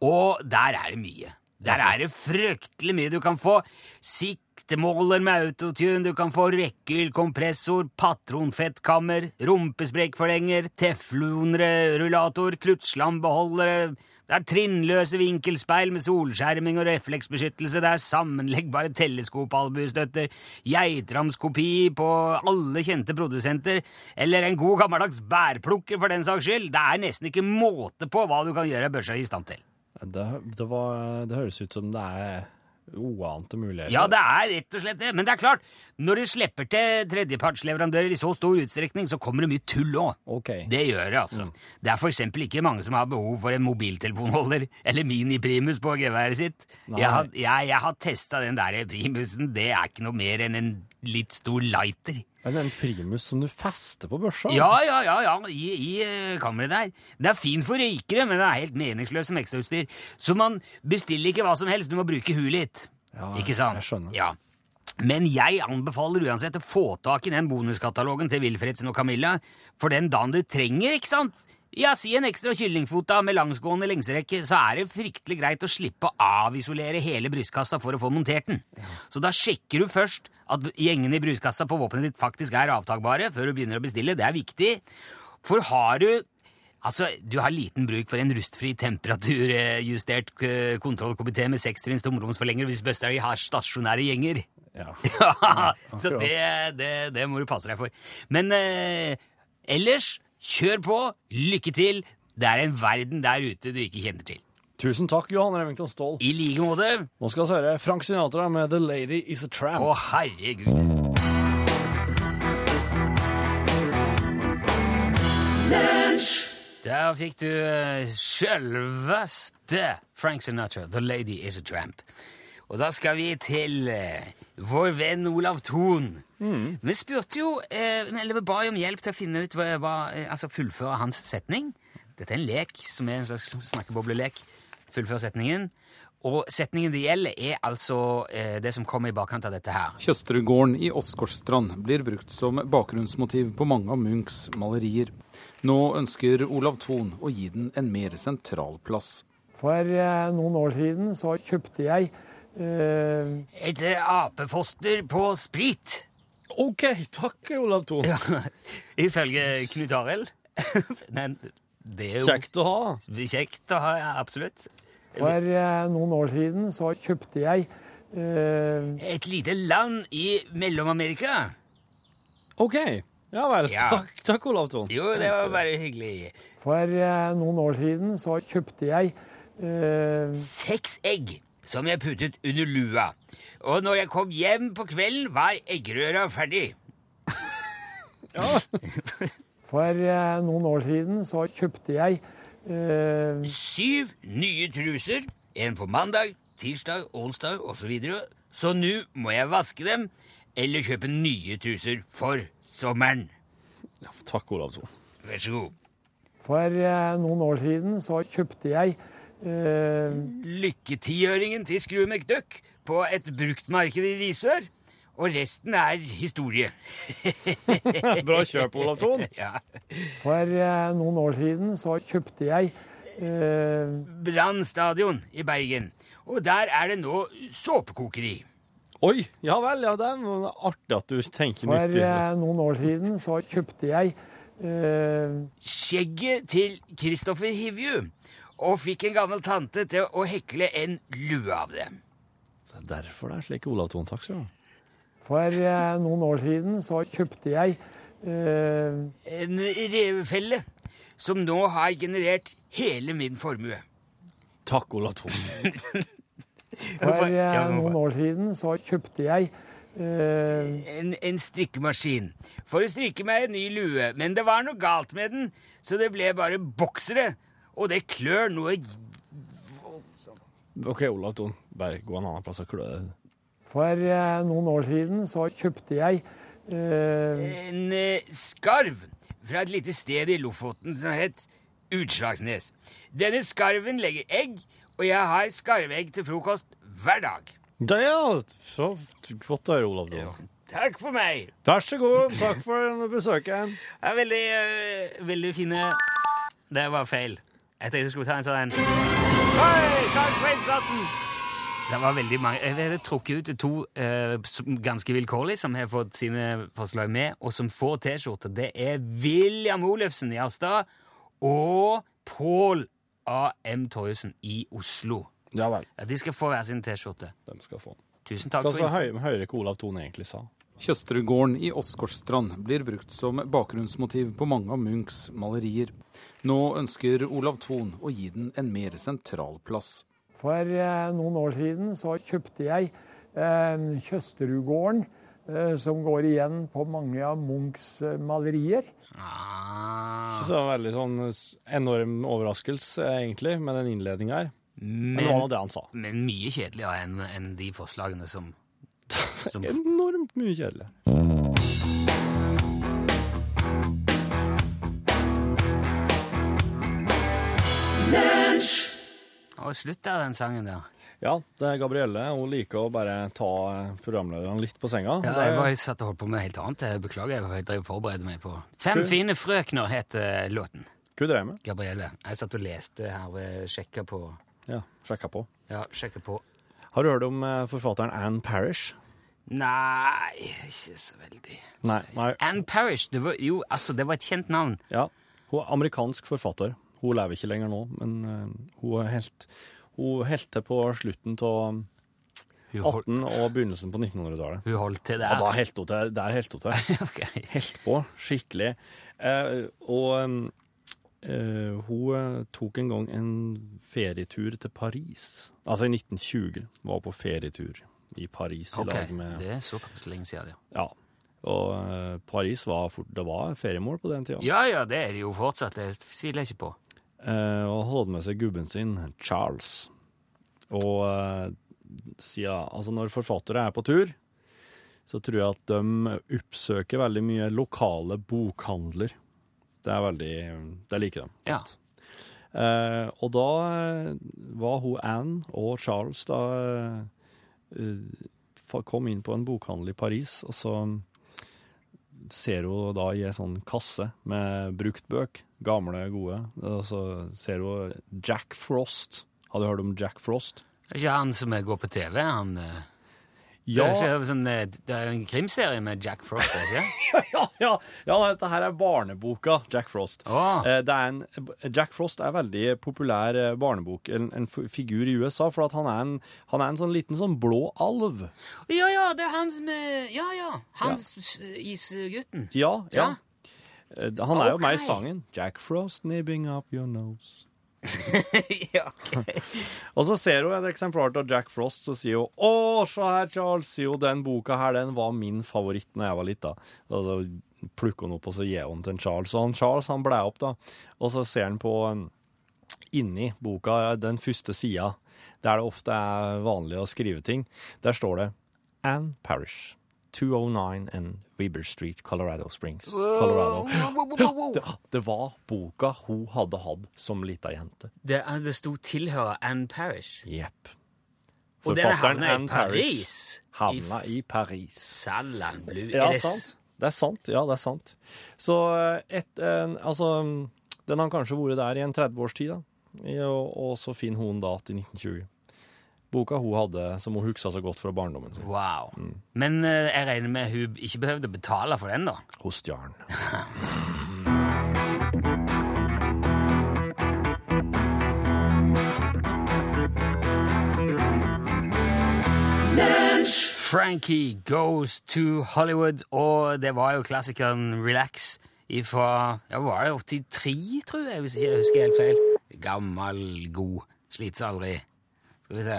Speaker 2: Og der er det mye. Der er det fryktelig mye du kan få. Siktemåler med autotune, du kan få rekkehyll, kompressor, patronfettkammer, rumpesprekkforlenger, teflonrullator, kruttslambeholdere Det er trinnløse vinkelspeil med solskjerming og refleksbeskyttelse, det er sammenleggbare teleskopalbuestøtter, geitramskopi på alle kjente produsenter, eller en god gammeldags bærplukker, for den saks skyld. Det er nesten ikke måte på hva du kan gjøre børsa i stand til.
Speaker 3: Det, det, var, det høres ut som det er uante muligheter.
Speaker 2: Ja, det er rett og slett det. Men det er klart, når du slipper til tredjepartsleverandører i så stor utstrekning, så kommer det mye tull òg.
Speaker 3: Ok.
Speaker 2: Det gjør det,
Speaker 3: Mm.
Speaker 2: altså. Det er for eksempel ikke mange som har behov for en mobiltelefonholder *laughs* eller mini-primus på geværet sitt.
Speaker 3: Nei.
Speaker 2: Jeg har, jeg, jeg har testa den der primusen. Det er ikke noe mer enn en litt stor lighter.
Speaker 3: Er det en primus som du fester på børsa?
Speaker 2: Ja, ja, ja, ja, i, i eh, kammeret der. Den er fin for røykere, men den er helt meningsløs som ekstrautstyr. Så man bestiller ikke hva som helst, du må bruke huet litt.
Speaker 3: Ja,
Speaker 2: ikke sant?
Speaker 3: jeg skjønner.
Speaker 2: Ja. Men jeg anbefaler uansett å få tak i den bonuskatalogen til Wilfredsen og Camilla, for den dagen du trenger, ikke sant? Ja, si en ekstra kyllingfot da, med langsgående lengserekke, så er det fryktelig greit å slippe å avisolere hele brystkassa for å få montert den. Så da sjekker du først at gjengene i brystkassa på våpenet ditt faktisk er avtagbare, før du begynner å bestille. Det er viktig. For har du Altså, Du har liten bruk for en rustfri temperaturjustert eh, kontrollkomité med sekstrinns tomromsforlenger hvis Bøstøy har stasjonære gjenger. *laughs*
Speaker 3: Ja.
Speaker 2: Ja, så
Speaker 3: akkurat.
Speaker 2: det, det, det må du passe deg for. Men eh, ellers, kjør på. Lykke til. Det er en verden der ute du ikke kjenner til.
Speaker 3: Tusen takk, Johan Remington Ståhl.
Speaker 2: I like måte.
Speaker 3: Nå skal vi høre Frank Sinatra med The Lady Is A Tramp.
Speaker 2: Å, herregud. Der fikk du eh, selveste Frank Sinatra, The Lady Is A Tramp. Og da skal vi til eh, vår venn Olav Thon. Vi spurte jo, eh, eller vi ba jo om hjelp til å finne ut hva, hva eh, altså fullføre hans setning. Dette er en lek som er en slags snakkeboblelek. Fullfør setningen. Og setningen det gjelder, er altså eh, det som kommer i bakkant av dette her.
Speaker 4: Tjøsterudgården i Åsgårdstrand blir brukt som bakgrunnsmotiv på mange av Munchs malerier. Nå ønsker Olav Thon å gi den en mer sentral plass.
Speaker 5: For eh, noen år siden så kjøpte jeg eh,
Speaker 2: Et eh, apefoster på sprit.
Speaker 3: Ok, takk, Olav Thon.
Speaker 2: Ja, *laughs* ifølge Knut Arild. *laughs* Men det er jo kjekt,
Speaker 3: Kjekt å ha.
Speaker 2: å ha, ja, absolutt.
Speaker 5: For eh, noen år siden så kjøpte jeg eh,
Speaker 2: Et lite land i Mellom-Amerika.
Speaker 3: Ok. Ja vel.
Speaker 2: Ja.
Speaker 3: Takk, takk, Olav Thon.
Speaker 2: Jo, det var bare hyggelig.
Speaker 5: For eh, noen år siden så kjøpte jeg eh,
Speaker 2: Seks egg. som jeg puttet under lua. Og når jeg kom hjem på kvelden, var eggerøra ferdig.
Speaker 5: For eh, noen år siden så kjøpte jeg eh,
Speaker 2: Syv nye truser. En på mandag, tirsdag, onsdag osv. Så, så nå må jeg vaske dem eller kjøpe nye truser for sommeren.
Speaker 3: Ja, takk, Olav Thon.
Speaker 2: Vær så god.
Speaker 5: For eh, noen år siden så kjøpte jeg eh,
Speaker 2: Lykketiøringen til Skru McDuck på et bruktmarked i Risør. Og resten er historie.
Speaker 3: *laughs* Bra kjøp, Olav *laughs* Thon.
Speaker 2: Ja.
Speaker 5: For eh, noen år siden så kjøpte jeg eh,
Speaker 2: Brann stadion i Bergen. Og der er det nå såpekokeri.
Speaker 3: Oi, ja vel, ja, det er noe artig at du tenker
Speaker 5: For
Speaker 3: nyttig.
Speaker 5: eh, noen år siden så kjøpte jeg eh,
Speaker 2: Skjegget til Kristoffer Hivju. Og fikk en gammel tante til å hekle en lue av det.
Speaker 3: Det er derfor det er slik Olav Thon, takk skal du ha.
Speaker 5: For eh, noen år siden så kjøpte jeg eh,
Speaker 2: En revefelle som nå har generert hele min formue.
Speaker 3: Takk, Olav Thon.
Speaker 5: For
Speaker 2: Hvorfor? Ja,
Speaker 5: eh,
Speaker 2: hvorfor?
Speaker 5: noen år siden så kjøpte jeg eh,
Speaker 2: En, en strikkemaskin for å strikke meg en ny lue, men det var noe galt med den, så det ble bare boksere, og det klør noe
Speaker 3: *laughs* OK, Olav Thon, bare gå en annen plass og klø deg.
Speaker 5: For eh, noen år siden så kjøpte jeg eh,
Speaker 2: En eh, skarv fra et lite sted i Lofoten som het Utslagsnes. Denne skarven legger egg, og jeg har skarvegg til frokost hver dag.
Speaker 3: Da, ja, så godt å høre, Olav Thon.
Speaker 2: Takk for meg.
Speaker 3: Vær så god, takk for besøket.
Speaker 2: Det er veldig, eh, veldig fine Det var feil. Jeg tenkte jeg skulle ta en sånn en. Hei, takk for innsatsen! Så det var veldig mange. Jeg ville trukket ut to eh, som ganske vilkårlig som har fått sine forslag med, og som får T-skjorte. Det er William Olufsen i Harstad og Pål A.M. Torjussen i Oslo.
Speaker 3: Ja vel.
Speaker 2: Ja, de skal få hver sin T-skjorte.
Speaker 3: De skal få den.
Speaker 2: Tusen takk
Speaker 3: Hva
Speaker 2: for
Speaker 3: så
Speaker 2: innsatsen.
Speaker 3: høy, hører ikke Olav Thon egentlig sa?
Speaker 4: Tjøsterudgården i Åsgårdstrand blir brukt som bakgrunnsmotiv på mange av Munchs malerier. Nå ønsker Olav Thon å gi den en mer sentral plass.
Speaker 5: For eh, noen år siden så kjøpte jeg eh, Tjøsterudgården, eh, som går igjen på mange av Munchs eh, malerier.
Speaker 2: Ah,
Speaker 3: Så veldig sånn s- enorm overraskelse, egentlig, med den innledninga her. Men det var nå det han sa.
Speaker 2: men mye kjedeligere enn enn de forslagene som,
Speaker 3: *laughs*
Speaker 2: som
Speaker 3: Enormt mye kjedelig.
Speaker 2: Og slutt der, den sangen der.
Speaker 3: Ja, det er Gabrielle. Hun liker å bare ta eh, programlederne litt på senga.
Speaker 2: Ja,
Speaker 3: Det er-
Speaker 2: jeg bare satt og holdt på med helt annet. Jeg beklager, jeg var- jeg forberedte meg på Fem fine frøkner heter låten.
Speaker 3: Hva du drev med?
Speaker 2: Gabrielle. Jeg satt og leste her ved sjekka på
Speaker 3: Ja, sjekka på.
Speaker 2: Ja, sjekka på
Speaker 3: Har du hørt om eh, forfatteren Anne Parish?
Speaker 2: Nei, ikke så veldig.
Speaker 3: Nei. Nei.
Speaker 2: Anne Parish. Det var, jo, altså, det var et kjent navn.
Speaker 3: Ja, hun er amerikansk forfatter. Hun lever ikke lenger nå, men eh, hun er helt Hun helt til på slutten av
Speaker 2: Hun, hold,
Speaker 3: 18- og begynnelsen på 1900-tallet.
Speaker 2: hun holdt til
Speaker 3: Ja, da
Speaker 2: der.
Speaker 3: helt hun til. Der helt hun til.
Speaker 2: *laughs* Ok.
Speaker 3: Helt på, skikkelig. Eh, og eh, hun eh, tok en gang en ferietur til Paris. Altså i 1920 var hun på ferietur i Paris i
Speaker 2: Ok,
Speaker 3: lag med
Speaker 2: Det er såpass lenge siden, ja.
Speaker 3: Ja. Og eh, Paris var fort Det var feriemål på den tida.
Speaker 2: Ja ja, det er det jo fortsatt. Det tviler jeg ikke på.
Speaker 3: Eh, og holdt med seg gubben sin, Charles. Og eh, siden, altså når forfattere er på tur, så tror jeg at de oppsøker veldig mye lokale bokhandler. Det er veldig Det liker de.
Speaker 2: Ja.
Speaker 3: Eh, og da eh, var hun Anne og Charles da eh, fa- kom inn på en bokhandel i Paris, og så mm, ser hun da i ei sånn kasse med bruktbøk, gamle, gode, og så ser hun Jack Frost. Har du hørt om Jack Frost?
Speaker 2: Det er ikke han som går på TV, han eh,
Speaker 3: Ja,
Speaker 2: det, er ikke sånn, eh, det er jo en krimserie med Jack Frost, er det ikke?
Speaker 3: *laughs* ja, ja, ja, dette her er barneboka Jack Frost.
Speaker 2: Åh.
Speaker 3: Eh, Det er en, Jack Frost er veldig populær eh, barnebok, en, en f- figur i USA, for at han, er en, han er en sånn liten sånn blå alv.
Speaker 2: *laughs* Ja, ja, det er han som er Ja, ja. Han s- isgutten.
Speaker 3: Ja, ja.
Speaker 2: Ja.
Speaker 3: Eh, Han er jo med i
Speaker 2: Ok.
Speaker 3: sangen. Jack Frost nibbing up your nose.
Speaker 2: *laughs* ja, ok.
Speaker 3: Og så ser hun et eksemplar av Jack Frost, så sier hun Å, se her, Charles! Sier hun, den boka her, den var min favoritt da jeg var lita. Og så plukker hun opp, og så gir hun til en Charles. Og han Charles han blæ opp, da. Og så ser han på um, inni boka, den første sida, der det ofte er vanlig å skrive ting, der står det Ann Parish. 209 and Weber Street, Colorado Springs, Colorado. Det, ah, det var boka hun hadde hatt som lita jente.
Speaker 2: *laughs* Det, altså, det sto 'tilhører Anne Parish'.
Speaker 3: Jepp.
Speaker 2: Og den
Speaker 3: Forfatteren
Speaker 2: havna i
Speaker 3: Anne
Speaker 2: Paris.
Speaker 3: Havna i Paris.
Speaker 2: Sallan Blue.
Speaker 3: Ja,
Speaker 2: Er det s-
Speaker 3: sant. Det er sant. Ja, det er sant. Så eh, et, en, altså, mm, den har kanskje vært der i en 30 års tid, da. I- Og, og så finner hun da til 1920. Boka hun hadde, som hun huksa så godt fra barndommen sin.
Speaker 2: Wow.
Speaker 3: Mm.
Speaker 2: Men eh, jeg regner med hun ikke behøvde å betale for den, da?
Speaker 3: Hun stjal den.
Speaker 2: Frankie Goes to Hollywood, og det var jo klassikeren Relax fra ja, var det 83, tror jeg, hvis ikke jeg husker helt feil. Gammel, god, sliter aldri. Skal vi se.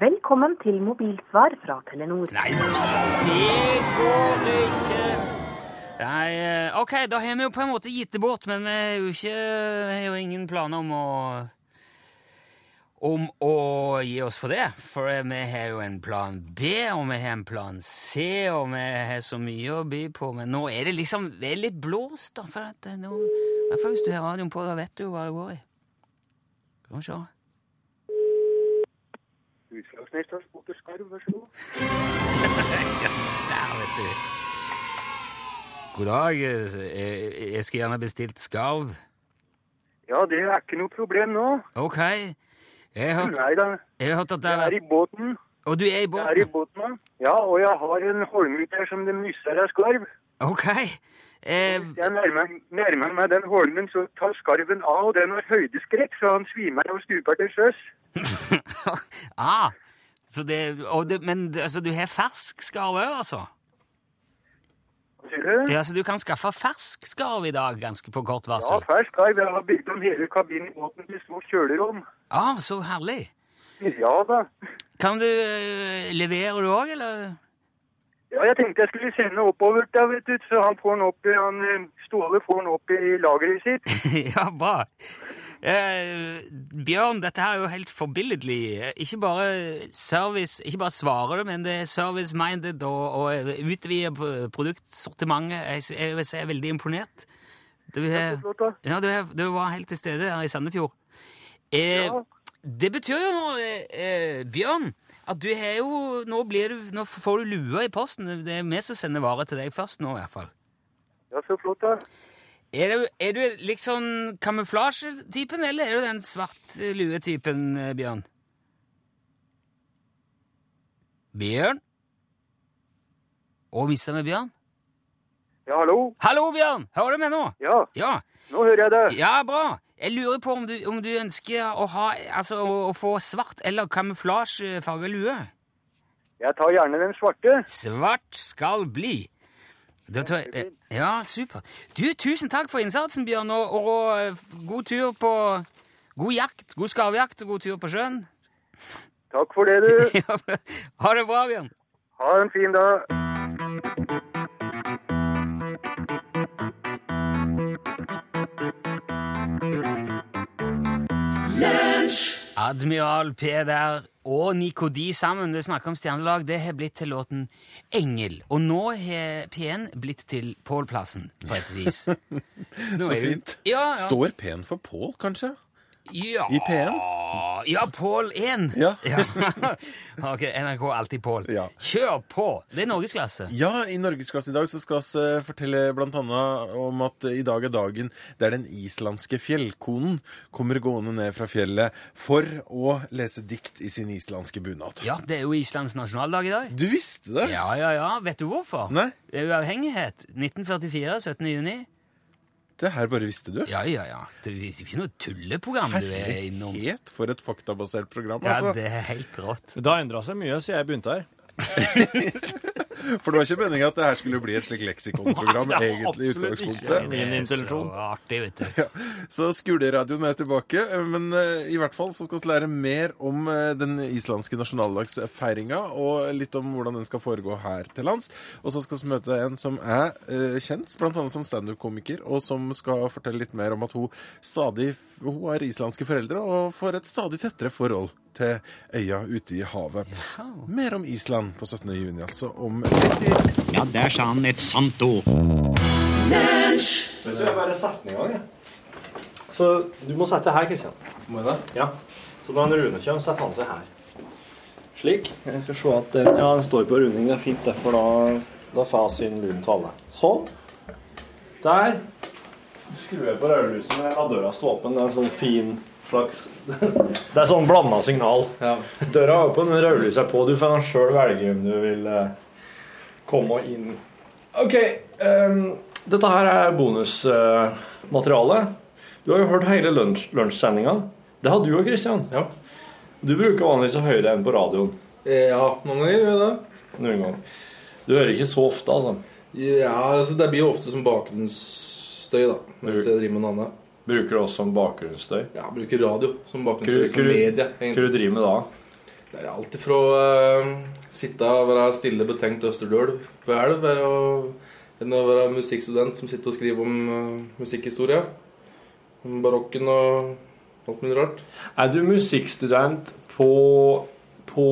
Speaker 6: Velkommen til mobilsvar fra Telenor.
Speaker 2: Nei, det går ikke! Nei, eh, ok, da har vi jo på en måte gitt det bort, men vi er jo ikke, har jo ingen planer om å om å gi oss for det, for eh, vi har jo en plan B, og vi har en plan C, og vi har så mye å by på, men nå er det liksom det er litt blåst, da, for at eh, nå, i hvert fall hvis du har radioen på, da vet du jo hva det går i. Skal vi se.
Speaker 7: Utslagsnesta spotter skarv, vær så god.
Speaker 2: Der, vet du. God dag. Jeg, jeg skulle gjerne bestilt skarv.
Speaker 7: Ja, det er ikke noe problem nå.
Speaker 2: Ok. Jeg har hørt,
Speaker 7: Nei da,
Speaker 2: jeg har hørt at det
Speaker 7: jeg
Speaker 2: er
Speaker 7: er i båten.
Speaker 2: Og du er i
Speaker 7: Jeg er i
Speaker 2: båten?
Speaker 7: båten, ja. Og jeg har en holmut her som de nysser av skarv.
Speaker 2: Ok. Eh, *laughs*
Speaker 7: Jeg nærmer, nærmer meg den holmen, så tar skarven av, og den har høydeskrekk, så han svimer og stuper til sjøs.
Speaker 2: ah, så det, og det, men det- altså, du har fersk skarv òg, altså?
Speaker 7: Sier du?
Speaker 2: Ja, Så du kan skaffe fersk skarv i dag, ganske på kort
Speaker 7: Ja,
Speaker 2: varsel?
Speaker 7: fersk skarv. Jeg har bygd om hele kabinen i båten til små kjølerom.
Speaker 2: Ah, så herlig.
Speaker 7: Ja da.
Speaker 2: Kan du eh, Leverer du òg, eller?
Speaker 7: Ja, jeg tenkte jeg skulle sende oppover da, vet du, så han får den opp i, han, eh, Ståle får den opp i lageret sitt.
Speaker 2: *laughs* ja, bra. Eh, Bjørn, dette her er jo helt forbilledlig. Eh, Ikke bare service, ikke bare svarer du, men det er service-minded og, og utvider p- produktsortimentet. Jeg, s- jeg, vil si jeg er veldig imponert. Du,
Speaker 7: Så
Speaker 2: er-
Speaker 7: flott da.
Speaker 2: ja, du, er- du var helt til stede her i Sandefjord. Eh,
Speaker 7: Ja.
Speaker 2: Det betyr jo nå, eh, eh, Bjørn, at du har jo Nå, blir du, nå får du lua i posten. Det er vi som sender varer til deg først nå, i hvert fall.
Speaker 7: Ja, så flott da.
Speaker 2: Er du, er du liksom kamuflasjetypen, eller er du den svart-lue-typen, eh, Bjørn? Bjørn? Å, mista vi Bjørn?
Speaker 7: Ja, hallo?
Speaker 2: Hallo, Bjørn! Hører du meg nå?
Speaker 7: Ja,
Speaker 2: Ja,
Speaker 7: nå hører jeg deg.
Speaker 2: ja bra. Jeg lurer på om du, om du ønsker å, ha, altså, å, å få svart eller kamuflasjefarga lue.
Speaker 7: Jeg tar gjerne den svarte.
Speaker 2: Svart skal bli. Da tror jeg, eh, ja, super. Du, tusen takk for innsatsen, Bjørn, og, og eh, f- god tur på God jakt, god skarvjakt og god tur på sjøen.
Speaker 7: Takk for det,
Speaker 2: *laughs*
Speaker 7: du.
Speaker 2: ha det bra, Bjørn.
Speaker 7: Ha en fin dag.
Speaker 2: Admiral Peder og Nico D sammen, det snakker om stjernelag, det har blitt til låten Engel. Og nå har P1 blitt til Pål Plassen, på et
Speaker 1: *laughs*
Speaker 2: vis. Så
Speaker 1: fint.
Speaker 2: Ja, ja.
Speaker 1: Står P-en for Pål, kanskje?
Speaker 2: Ja.
Speaker 1: I P1?
Speaker 2: Ja, Pål 1.
Speaker 1: Ja.
Speaker 2: *laughs* ok, NRK Alltid Pål.
Speaker 1: Ja.
Speaker 2: Kjør på! Det er norgesklasse.
Speaker 1: Ja, i Norgesklassen i dag så skal vi eh, fortelle blant annet om at eh, i dag er dagen der den islandske fjellkonen kommer gående ned fra fjellet for å lese dikt i sin islandske bunad.
Speaker 2: Ja, det er jo Islands nasjonaldag i dag.
Speaker 1: Du visste det?
Speaker 2: Ja, ja, ja. Vet du hvorfor?
Speaker 1: Nei.
Speaker 2: Det er Uavhengighet. 1944, 17. juni.
Speaker 1: Det her bare visste du?
Speaker 2: Ja, ja, ja. Det er jo ikke noe tulleprogram du er innom.
Speaker 1: Helt for et faktabasert program,
Speaker 2: Ja,
Speaker 1: altså.
Speaker 2: det er helt rått.
Speaker 3: Det har endra seg mye siden jeg begynte her.
Speaker 1: For det var ikke meninga at det her skulle bli et slikt
Speaker 2: *laughs*
Speaker 1: leksikonprogram,
Speaker 3: Nei, det var
Speaker 1: egentlig i
Speaker 3: absolutt ikke.
Speaker 1: utgangspunktet.
Speaker 3: Ingen
Speaker 2: Det er
Speaker 3: intensjon.
Speaker 2: Så artig, vet du.
Speaker 1: Så skuleradioen er tilbake, men eh, i hvert fall så skal vi lære mer om eh, den islandske nasjonaldagsfeiringa, og litt om hvordan den skal foregå her til lands. Og så skal vi møte en som er eh, kjent, bl.a. som standup-komiker, og som skal fortelle litt mer om at hun stadig hun har islandske foreldre og får et stadig tettere forhold til øya ute i havet. Mer om Island på 17. juni, altså. Om litt tid.
Speaker 8: Ja, der sa han et sant ord.
Speaker 3: Vet du, jeg bare setter den i gang, jeg. Så du må sette deg her, Kristian. Må jeg det? Ja. Så når Rune kommer, setter han seg her. Slik. Jeg skal se at den, ja, den står på runding. Det er fint, det, for da, da får jeg inn lyden til alle. Sånn. Der. Skrur jeg på rødlyset, men jeg lar døra stå åpen. Det er en sånn fin slags *laughs* Det er sånn blanda signal. Døra er åpen, men rødlyset er på. Du får sjøl velge om du vil eh, komme inn Ok, ehm, dette her er bonusmateriale. du har jo hørt hele lunsj- lunsjsendinga. Det har du òg, Kristian. Ja. Du bruker vanligvis å høre den på radioen.
Speaker 9: Eh, Ja, noen ganger gjør jeg det.
Speaker 3: noen gang. Du hører ikke så ofte, altså.
Speaker 9: Ja, altså Det blir jo ofte som bakgrunnsstøy, da. Mens jeg driver med noe annet.
Speaker 3: Bruker det også som bakgrunnsstøy.
Speaker 9: Ja, jeg bruker radio som
Speaker 3: Kru-
Speaker 9: bakgrunnsstøy. Som
Speaker 3: kru-
Speaker 9: media.
Speaker 3: Hva du
Speaker 9: egentlig.
Speaker 3: driver med da?
Speaker 9: Det er alt ifra uh, sitte og være stille, betenkt østerdøl på elv, være å- enn å være musikkstudent som sitter og skriver om eh, musikkhistorie. Om barokken og alt mulig rart.
Speaker 3: Er du musikkstudent på, på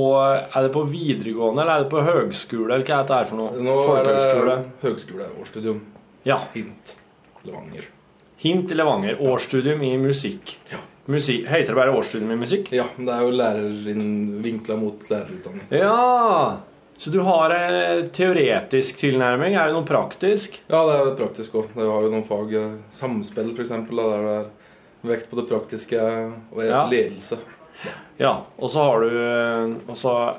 Speaker 3: Er det på videregående, eller er det på høgskole, eller hva er dette her for noe?
Speaker 9: Nå er det
Speaker 3: Folkehøgskole?
Speaker 9: høgskole og studium.
Speaker 3: Ja.
Speaker 9: Hint. Levanger.
Speaker 3: Hint i Levanger. Årsstudium i musikk.
Speaker 9: Ja.
Speaker 3: musikk. Heter det bare årsstudium i musikk?
Speaker 9: Ja, men det er jo lærerinnen vinkla mot lærerutdanning.
Speaker 3: Ja! Så du har en eh, teoretisk tilnærming? Er det noe praktisk?
Speaker 9: Ja, det er praktisk òg. Det har jo noen fag. eh, Samspill, f.eks. Der det er vekt på det praktiske og
Speaker 3: Ja.
Speaker 9: ledelse.
Speaker 3: Ja. Og så har du eh, Og så,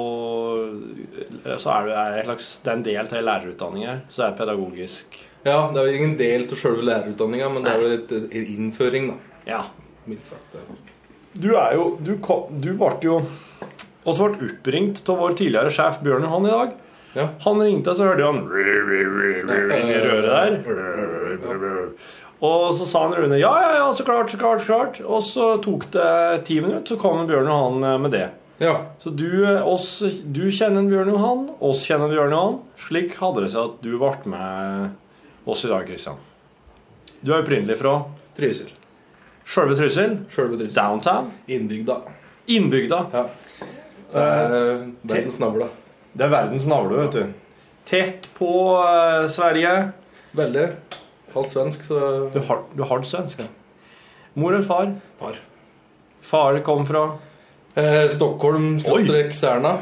Speaker 3: og, eh, så er, du, er det, et slags, det er en del til lærerutdanning her, så det er pedagogisk
Speaker 9: Ja, det er vel ingen del til sjølve lærerutdanninga, men det er vel et, en innføring, da.
Speaker 3: Ja.
Speaker 9: Mildt sagt. det er-
Speaker 3: Du er jo Du, kom, du ble jo også ble oppringt av vår tidligere sjef Bjørn Johan i dag.
Speaker 9: Ja.
Speaker 3: Han ringte, så hørte han inni røret der. Og så sa han Rune ja, ja, ja, så klart, så klart. så klart Og så tok det ti minutter, så kom Bjørn Johan eh, med det.
Speaker 9: Ja.
Speaker 3: Så du, eh, oss, du kjenner en Bjørn Johan, oss kjenner en Bjørn Johan. Slik hadde det seg at du ble med oss i dag, Kristian. Du er opprinnelig fra
Speaker 9: Trysil.
Speaker 3: sjølve Trysil.
Speaker 9: Sjølve Trysil.
Speaker 3: Downtown.
Speaker 9: Innbygda.
Speaker 3: Innbygda.
Speaker 9: Det er Eh, verdens navle.
Speaker 3: Det er verdens navle, vet du. Tett på eh, Sverige.
Speaker 9: Veldig. Halvt svensk, så
Speaker 3: Du har, du har det svensk. Mor eller far?
Speaker 9: Par.
Speaker 3: Far kom fra
Speaker 9: Eh, Stockholm, skråstrek Särna.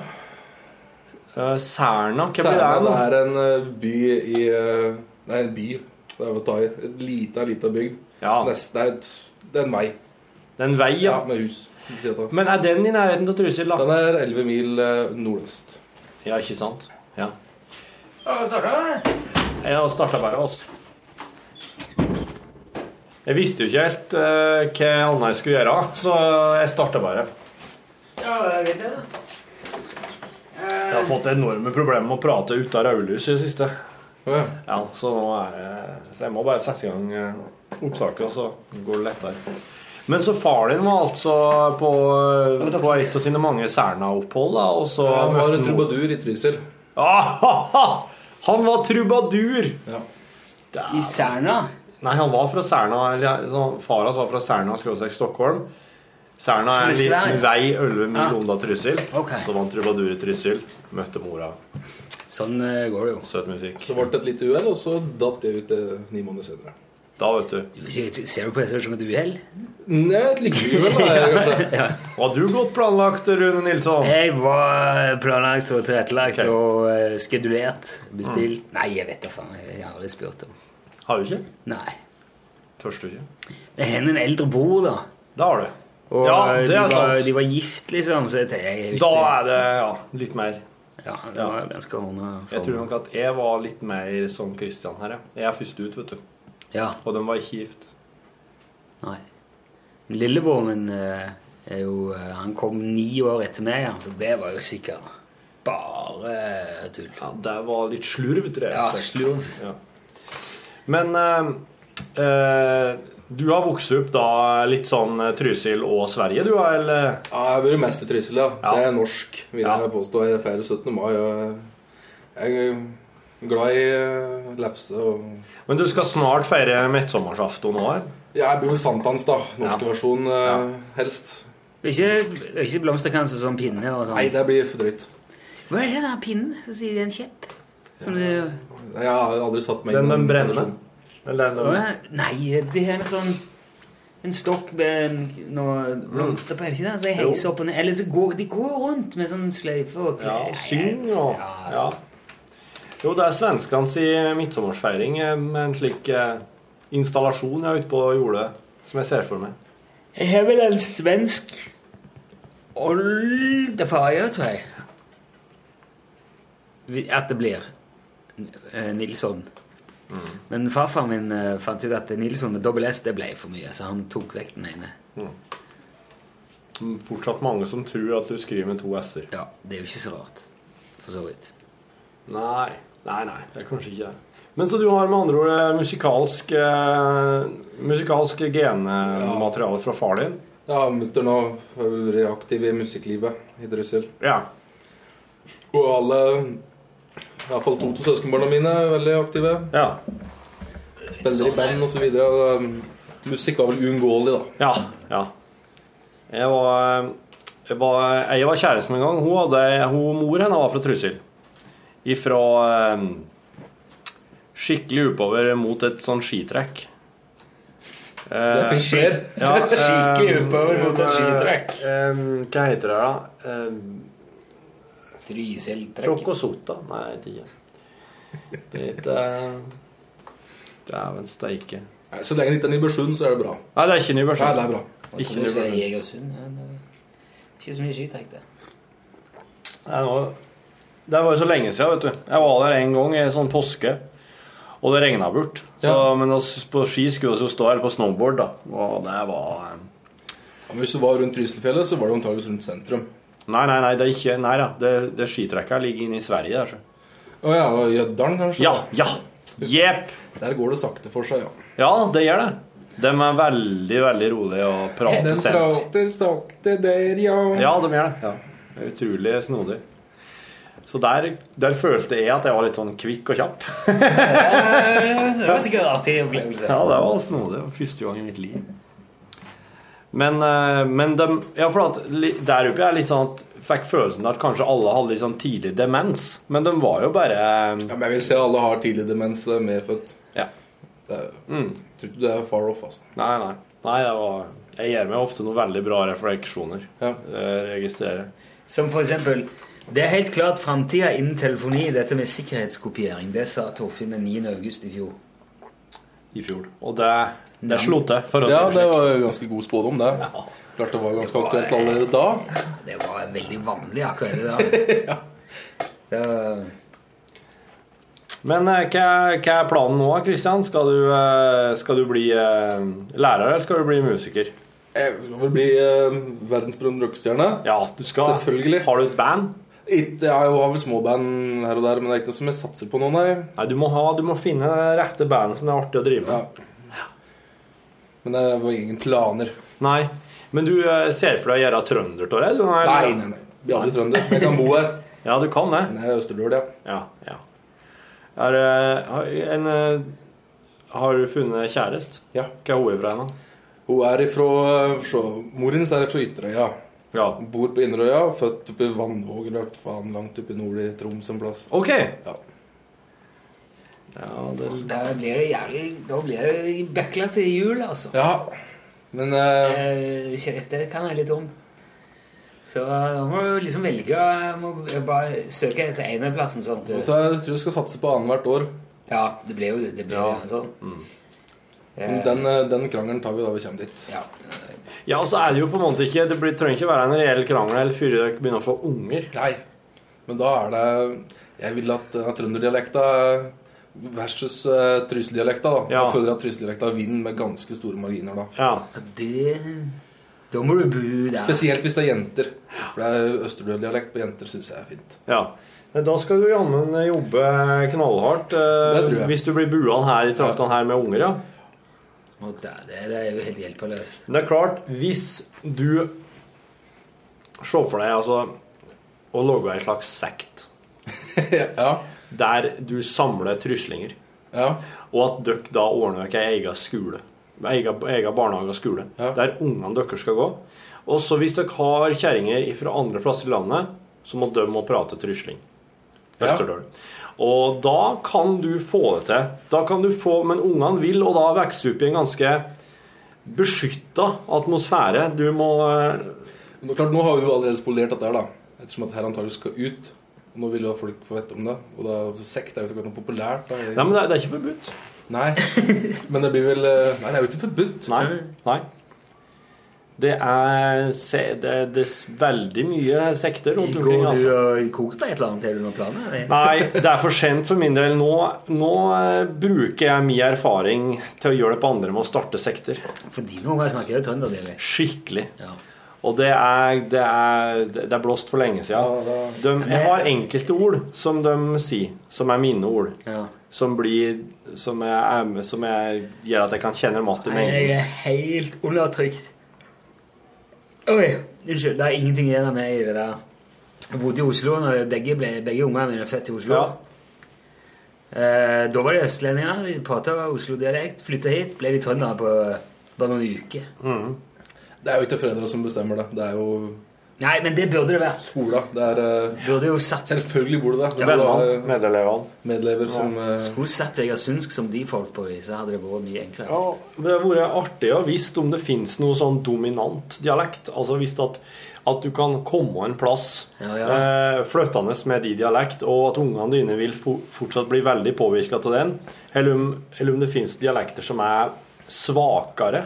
Speaker 3: eh, Særna. Hva blir det
Speaker 9: Særna
Speaker 3: nå?
Speaker 9: det er en eh, by i eh, Nei, en by. Det er Vatai. Et lite, lite bygd.
Speaker 3: Ja,
Speaker 9: Nest, det, er et, det er en vei.
Speaker 3: det er en vei, ja.
Speaker 9: Ja, med hus. Ikke si at det.
Speaker 3: Men er den i nærheten av Trysil, da?
Speaker 9: Den er 11 mil eh, nordøst.
Speaker 3: Ja, ikke sant? Ja. Ja, det starta bare oss. Jeg visste jo ikke helt eh, hva annet jeg skulle gjøre, så jeg starta bare. Jeg har fått enorme problemer med å prate ut av rødlys i det siste.
Speaker 9: Å ja.
Speaker 3: Ja, så nå er det Så jeg må bare sette i gang eh, opptaket, og så går det lettere. Men så far din var altså på, eh, på et av sine mange Serna-opphold, da, og så
Speaker 9: Han var
Speaker 3: møtte
Speaker 9: en trubadur i Trysil.
Speaker 3: Ah, *laughs* Han var trubadur!
Speaker 9: Ja.
Speaker 2: I Serna?
Speaker 3: Nei, han var fra Serna. Eller, så far hans var fra Serna, skråstrek Stockholm. Serna er en
Speaker 2: Så det er
Speaker 3: liten
Speaker 2: Sverige?
Speaker 3: vei 11
Speaker 2: Ja.
Speaker 3: mil unna Trysil.
Speaker 2: Ok.
Speaker 3: Så vant trubadur i Trysil. Møtte mora.
Speaker 2: Sånn eh, går det jo.
Speaker 3: Søt musikk.
Speaker 9: Så ble det et lite uhell, og så datt jeg ut eh, ni måneder senere.
Speaker 3: Da, vet du.
Speaker 2: Ser du på det som et uhell?
Speaker 9: Nei, et *laughs* lykkelig uhell, da, jeg, kanskje.
Speaker 3: Var du godt planlagt, Rune Nilsson?
Speaker 2: Jeg var planlagt og tilrettelagt
Speaker 3: Ok. Mm.
Speaker 2: og eh, skedulert. Bestilt. Nei, jeg vet da faen. Jeg har aldri spurt om
Speaker 3: Har du ikke?
Speaker 2: Nei.
Speaker 3: Tørste du ikke?
Speaker 2: Jeg har en eldre bror, da.
Speaker 3: Da har du.
Speaker 2: Og
Speaker 3: Ja,
Speaker 2: eh,
Speaker 3: det
Speaker 2: de,
Speaker 3: er
Speaker 2: var,
Speaker 3: sant.
Speaker 2: de var gift, liksom. Så jeg tenkte jeg er jo
Speaker 3: Da
Speaker 2: ikke-
Speaker 3: er det ja, litt mer.
Speaker 2: Ja, det var ganske ordna.
Speaker 3: Jeg tror nok at jeg var litt mer som Christian her, ja. Jeg er først ut, vet du.
Speaker 2: Ja,
Speaker 3: Og de var ikke gift.
Speaker 2: nei. Men Lillebroren min eh, er jo eh, Han kom ni år etter meg, han, så det var jo sikkert
Speaker 10: bare tull.
Speaker 3: Ja, det var litt slurvete, rett
Speaker 10: Ja,
Speaker 3: og slett.
Speaker 10: slurv.
Speaker 3: Ja. Men eh, eh, du har vokst opp da litt sånn eh, Trysil og Sverige, du, da, eller?
Speaker 9: Ja, jeg har vært mest i Trysil, ja. Så jeg er norsk, vil
Speaker 3: Ja.
Speaker 9: jeg påstå. Jeg feirer 17. mai. Og jeg er glad i eh, lefse og
Speaker 3: Men du skal snart feire midtsommersaften nå her?
Speaker 9: Ja, jeg blir vel sankthans, da. Norske versjon, eh, helst.
Speaker 2: Ikke, ikke blomsterkranser som pinne og sånn?
Speaker 9: Nei, det blir for drøyt.
Speaker 2: Hva er det da, pinnen? Så sier de en kjepp? Som du
Speaker 3: Eh,
Speaker 9: Jeg har aldri satt meg
Speaker 3: Den
Speaker 9: i
Speaker 3: den
Speaker 9: noen
Speaker 3: brenner?
Speaker 9: tradisjon.
Speaker 3: Eller den
Speaker 2: Å, Nei, det er en sånn En stokk med en- noe blomster på hele siden. Så jeg heiser opp og ned. Eller så går de går rundt med sånn sløyfe og
Speaker 3: Ja,
Speaker 2: klær.
Speaker 3: og syng og ja. Jo, det er svenskene si midtsommersfeiring eh, med en slik eh, installasjon jeg er ute på jordet, som jeg ser for meg.
Speaker 2: Jeg har vel en svensk oldefar, jeg, tror jeg. Vi- At det blir eh, Nilsson. Men farfar min eh, fant ut at Nilsson med dobbel S det ble for mye, så han tok vekk den ene.
Speaker 3: Mm, Fortsatt mange som tror at du skriver med to s-er.
Speaker 2: Ja, det er jo ikke så rart. For så vidt.
Speaker 3: Nei. Nei, nei, det er kanskje ikke det. Men så du har med andre ord eh, musikalsk, eh, musikalsk genmateriale fra far din?
Speaker 9: Ja, mutter'n har vært aktiv i musikklivet i Trysil.
Speaker 3: Ja.
Speaker 9: Og alle, i hvert fall to av søskenbarna mine, er veldig aktive.
Speaker 3: Ja. Sånn
Speaker 9: Spiller i band osv. eh, Musikk var vel uunngåelig, da.
Speaker 3: Ja. ja. Jeg var, eh, jeg var, jeg var kjæresten min en gang. Hun hadde, hun, mor henne var fra Trysil. Ifra eh, skikkelig oppover mot et sånn skitrekk. Eh,
Speaker 10: Det finnes flere.
Speaker 9: *laughs*
Speaker 10: Skikkelig oppover mot et skitrekk.
Speaker 3: eh, hva heter det, da? Eh,
Speaker 10: Trysiltrekk.
Speaker 3: Chocosota? Nei, jeg vet ikke. Det heter Dæven steike.
Speaker 9: Nei, Så lenge det ikke er Nybergsund, så er det bra.
Speaker 3: Nei, det er ikke Nybergsund.
Speaker 9: Nei, det er bra.
Speaker 3: Ikke
Speaker 2: Nå sier
Speaker 3: Nybergsund.
Speaker 2: jeg Egersund. ja, det- Ikke så mye skitrekk, det.
Speaker 3: Nei, nå- Det var jo så lenge siden, vet du. Jeg var der en gang i sånn påske, og det regna bort. Så, Men oss på ski skulle vi jo stå her på snowboard, da. Og det var eh,
Speaker 9: Ja, men hvis du var rundt Trysilfjellet, så var det antageligvis rundt sentrum.
Speaker 3: Nei, nei, nei, det er ikke Nei da. Det, det skitrekket ligger inne i Sverige der, så.
Speaker 9: Å ja, og Jøddalen, kanskje?
Speaker 3: Ja, ja. Jepp.
Speaker 9: Der går det sakte for seg, ja.
Speaker 3: Ja, det gjør det. De er veldig, veldig rolige og prater
Speaker 9: Den
Speaker 3: sent.
Speaker 9: prater sakte der, ja.
Speaker 3: Ja, de gjør det. Det er Utrolig snodig. Så der, der følte jeg at jeg var litt sånn kvikk og kjapp.
Speaker 2: Det var sikkert en artig opplevelse.
Speaker 3: Ja, det var snodig. Det var Første gang i mitt liv. Men, eh, men de, ja, for at, li- der oppe jeg litt sånn at fikk følelsen av at kanskje alle hadde litt sånn tidlig demens. Men de var jo bare
Speaker 9: Ja, men jeg vil se alle har tidlig demens det er medfødt.
Speaker 3: Ja.
Speaker 9: Det er,
Speaker 3: Mm.
Speaker 9: Tror ikke det er far off, altså.
Speaker 3: Nei, nei. nei det var, jeg gjør meg ofte noen veldig bra refleksjoner. Jeg registrerer.
Speaker 2: Som for eksempel Det er helt klart framtida innen telefoni, dette med sikkerhetskopiering. Det sa Torfinn den 9. august i fjor.
Speaker 3: I fjor. Og det, det
Speaker 2: Ja.
Speaker 3: slo til. for å si
Speaker 9: Ja,
Speaker 3: det
Speaker 9: det
Speaker 3: slik.
Speaker 9: var jo ganske god spådom, det. Klart det var ganske aktuelt allerede da.
Speaker 2: Det var veldig vanlig akkurat
Speaker 9: *laughs*
Speaker 2: det da. Det var...
Speaker 3: Men eh, hva, hva er planen nå, Kristian? Skal, du, eh, skal du bli eh, lærer, eller skal du bli musiker?
Speaker 9: Jeg skal vel bli eh, verdensberømt rockestjerne.
Speaker 3: Ja, du skal.
Speaker 9: Selvfølgelig.
Speaker 3: Har du et band?
Speaker 9: Ikke, jeg har vel småband her og der, men det er ikke noe som jeg satser på nå, nei.
Speaker 3: Nei, Du må, ha, du må finne det rette bandet som det er artig å drive med.
Speaker 9: Men det var ingen planer.
Speaker 3: Nei. Men du eh, ser for deg å gjøre trønder av det? du, eller?
Speaker 9: Nei, nei, nei. Blir aldri trønder. Jeg kan bo her.
Speaker 3: Ja, du kan det.
Speaker 9: Men jeg er Østerdøl, ja.
Speaker 3: Ja, ja. Er, eh, har, en, eh, har du funnet kjærest?
Speaker 9: Ja.
Speaker 3: Hva er hun fra henne?
Speaker 9: Hun er ifra eh, se, Moren hennes er fra Ytterøya.
Speaker 3: Ja.
Speaker 9: Bor på Inderøya, født oppe i Vannvåg eller hva faen langt oppe i nord i Troms en plass.
Speaker 3: Ok.
Speaker 9: Ja.
Speaker 2: Da blir det jævlig Da blir det bøkla til jul, altså.
Speaker 9: Ja, men eh,
Speaker 2: Eh, ikke- det kan være litt om. Så da må du liksom velge må Bare søke etter eneplassen. Sånn. at
Speaker 9: vet du
Speaker 2: du-
Speaker 9: hva, jeg tror jeg skal satse på annethvert år.
Speaker 2: Ja, det blir jo det. Blir, jo sånn.
Speaker 9: Men Mm. Den, eh, den krangelen tar vi da vi kommer dit.
Speaker 2: Ja.
Speaker 3: Ja, og så er det jo på en måte ikke Det blir, trenger ikke være en reell krangel eller før dere begynner å få unger.
Speaker 9: Nei, men da er det Jeg vil at eh, trønderdialekta eh, versus uh, trysseldialekta, da.
Speaker 3: Ja.
Speaker 9: Jeg føler at trysseldialekta vinner med ganske store marginer, da.
Speaker 3: Ja.
Speaker 2: Det
Speaker 11: Da må du bu der.
Speaker 9: Spesielt hvis det er jenter. For det er Østerdøl-dialekt på jenter syns jeg er fint. *laughs*
Speaker 3: Ja. Men da skal du jammen jobbe knallhardt. eh,
Speaker 9: Det tror jeg.
Speaker 3: Hvis du blir buan her i traktene her med unger, ja.
Speaker 11: Å, da, det, det er jo helt hjelpeløst.
Speaker 3: Men det er klart, hvis du Se for deg altså å logge en slags sekt der du samler truslinger, og at dere da ordner dere ei egen skole, ei egen, egen barnehage og skole, der ungene deres skal gå. Og så hvis dere har kjerringer fra andre plasser i landet, så må de må prate trusling. Østerdøl. Og da kan du få det til. Da kan du få, Men ungene vil, og da vokser opp i en ganske beskytta atmosfære. Du må eh,
Speaker 9: Men klart, Nå har vi jo allerede spolert dette her, da. Ettersom at her antagelig skal ut. Og nå vil jo folk få vite om det. Og da, sekt er jo ikke akkurat noe populært. Da.
Speaker 3: Nei, men det er, det er ikke forbudt.
Speaker 9: Nei, men det blir vel eh, Nei, det er jo ikke forbudt.
Speaker 3: Nei. nei. Det er, se- det er des veldig mye sekter rundt
Speaker 2: Går
Speaker 3: omkring.
Speaker 2: du
Speaker 3: Altså.
Speaker 2: og koker på et eller annet? Har du noen planer?
Speaker 3: Nei, det er for sent for min del. Nå, nå eh, bruker jeg min erfaring til å gjøre det på andre med å starte sekter.
Speaker 2: For dine unger snakker jo trønderdialekt.
Speaker 3: Skikkelig. Og det er, det, er, det er blåst for lenge siden. De, jeg har enkelte ord som de sier, som er mine ord. Som blir Som, jeg, er med- som jeg gjør at jeg kan kjenne dem igjen.
Speaker 2: Nei,
Speaker 3: med en
Speaker 2: jeg
Speaker 3: gang.
Speaker 2: er helt undertrykt. Oi, unnskyld. Det er ingenting igjen av meg i det der. Jeg bodde i Oslo når begge, ble, begge ungene mine ble født i Oslo. Eh, da var de østlendinger. De prata Oslo-dialekt. Flytta hit, ble de trøndere på bare noen uker.
Speaker 9: Det er jo ikke foreldra som bestemmer det. Det er jo
Speaker 2: Nei, men det burde det vært.
Speaker 9: skola. Det er eh, Selvfølgelig burde det. det.
Speaker 3: Vennene,
Speaker 9: burde, eh,
Speaker 3: medelevene.
Speaker 9: Medlever som eh,
Speaker 2: Skulle sett egersundsk som de folk på dem, så hadde det vært mye enklere.
Speaker 3: Det hadde vært artig å visst om det finnes noe sånn dominant dialekt. Altså visst at, at du kan komme en plass Eh, flyttende med de dialekt, og at ungene dine vil fo- fortsatt bli veldig påvirka av den. Eller om, eller om det finnes dialekter som er svakere,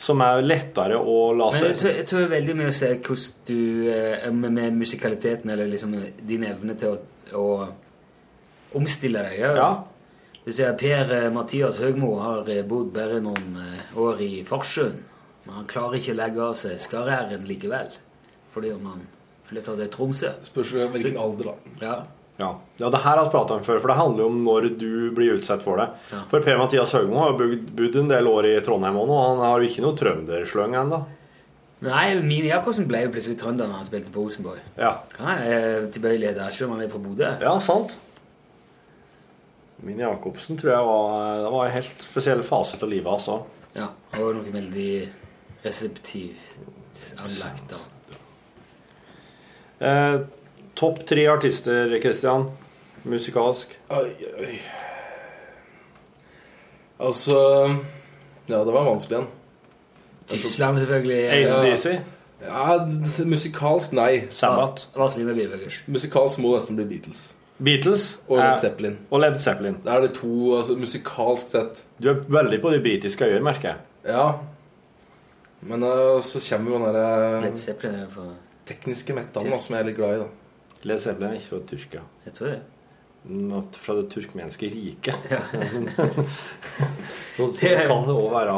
Speaker 3: som er lettere å la
Speaker 2: Men jeg
Speaker 3: seg
Speaker 2: tror, jeg tror det er veldig mye å se hvordan du eh, med, med musikaliteten eller liksom din evne til å, å omstille deg. Ja. Du ser Per eh, Mathias Høgmo har eh, bodd bare noen eh, år i Farsund. Men han klarer ikke å legge av seg skarre-r-en likevel. Fordi om han flytter til Tromsø.
Speaker 9: Spørs hvilken alder, da.
Speaker 2: Ja.
Speaker 3: Ja. ja, det her har vi prata om før, for det handler jo om når du blir utsatt for det. For Per-Mathias Høgmo har jo bygd- bodd en del år i Trondheim òg nå, og han har jo ikke noe trøndersløng ennå.
Speaker 2: Nei, Mini Jacobsen ble jo plutselig trønder når han spilte på Rosenborg.
Speaker 3: Ja.
Speaker 2: Han er eh, tilbøyelig der, selv om han er fra Bodø.
Speaker 3: Ja, sant. Min Jacobsen tror jeg var Det var en helt spesiell fase til livet, altså.
Speaker 2: Ja, han var noe veldig reseptivt anlagt. da.
Speaker 3: Eh, Topp tre artister, Christian. Musikalsk.
Speaker 9: Oi, oi. Altså Ja, det var vanskelig en.
Speaker 2: Tyskland, selvfølgelig.
Speaker 3: AC/DC?
Speaker 9: Ja, d- musikalsk nei.
Speaker 3: Sabbat.
Speaker 2: Vazelina Biebergers.
Speaker 9: Musikalsk må nesten bli Beatles.
Speaker 3: Beatles
Speaker 9: Og Led
Speaker 3: Eh,
Speaker 9: Zeppelin.
Speaker 3: Og Led Zeppelin.
Speaker 9: Det er det to altså, musikalsk sett.
Speaker 3: Du er veldig på de britiske øyer, merker jeg.
Speaker 9: Ja. Men eh, så kommer jo den derre
Speaker 2: Led Zeppelin er for
Speaker 9: tekniske metallen da, som jeg er litt glad i, da.
Speaker 3: Led Zeppelin er ikke fra Tyrkia.
Speaker 2: Jeg tror det.
Speaker 3: Not fra det turkmenske riket.
Speaker 2: Ja.
Speaker 3: *laughs* så, så kan det òg være.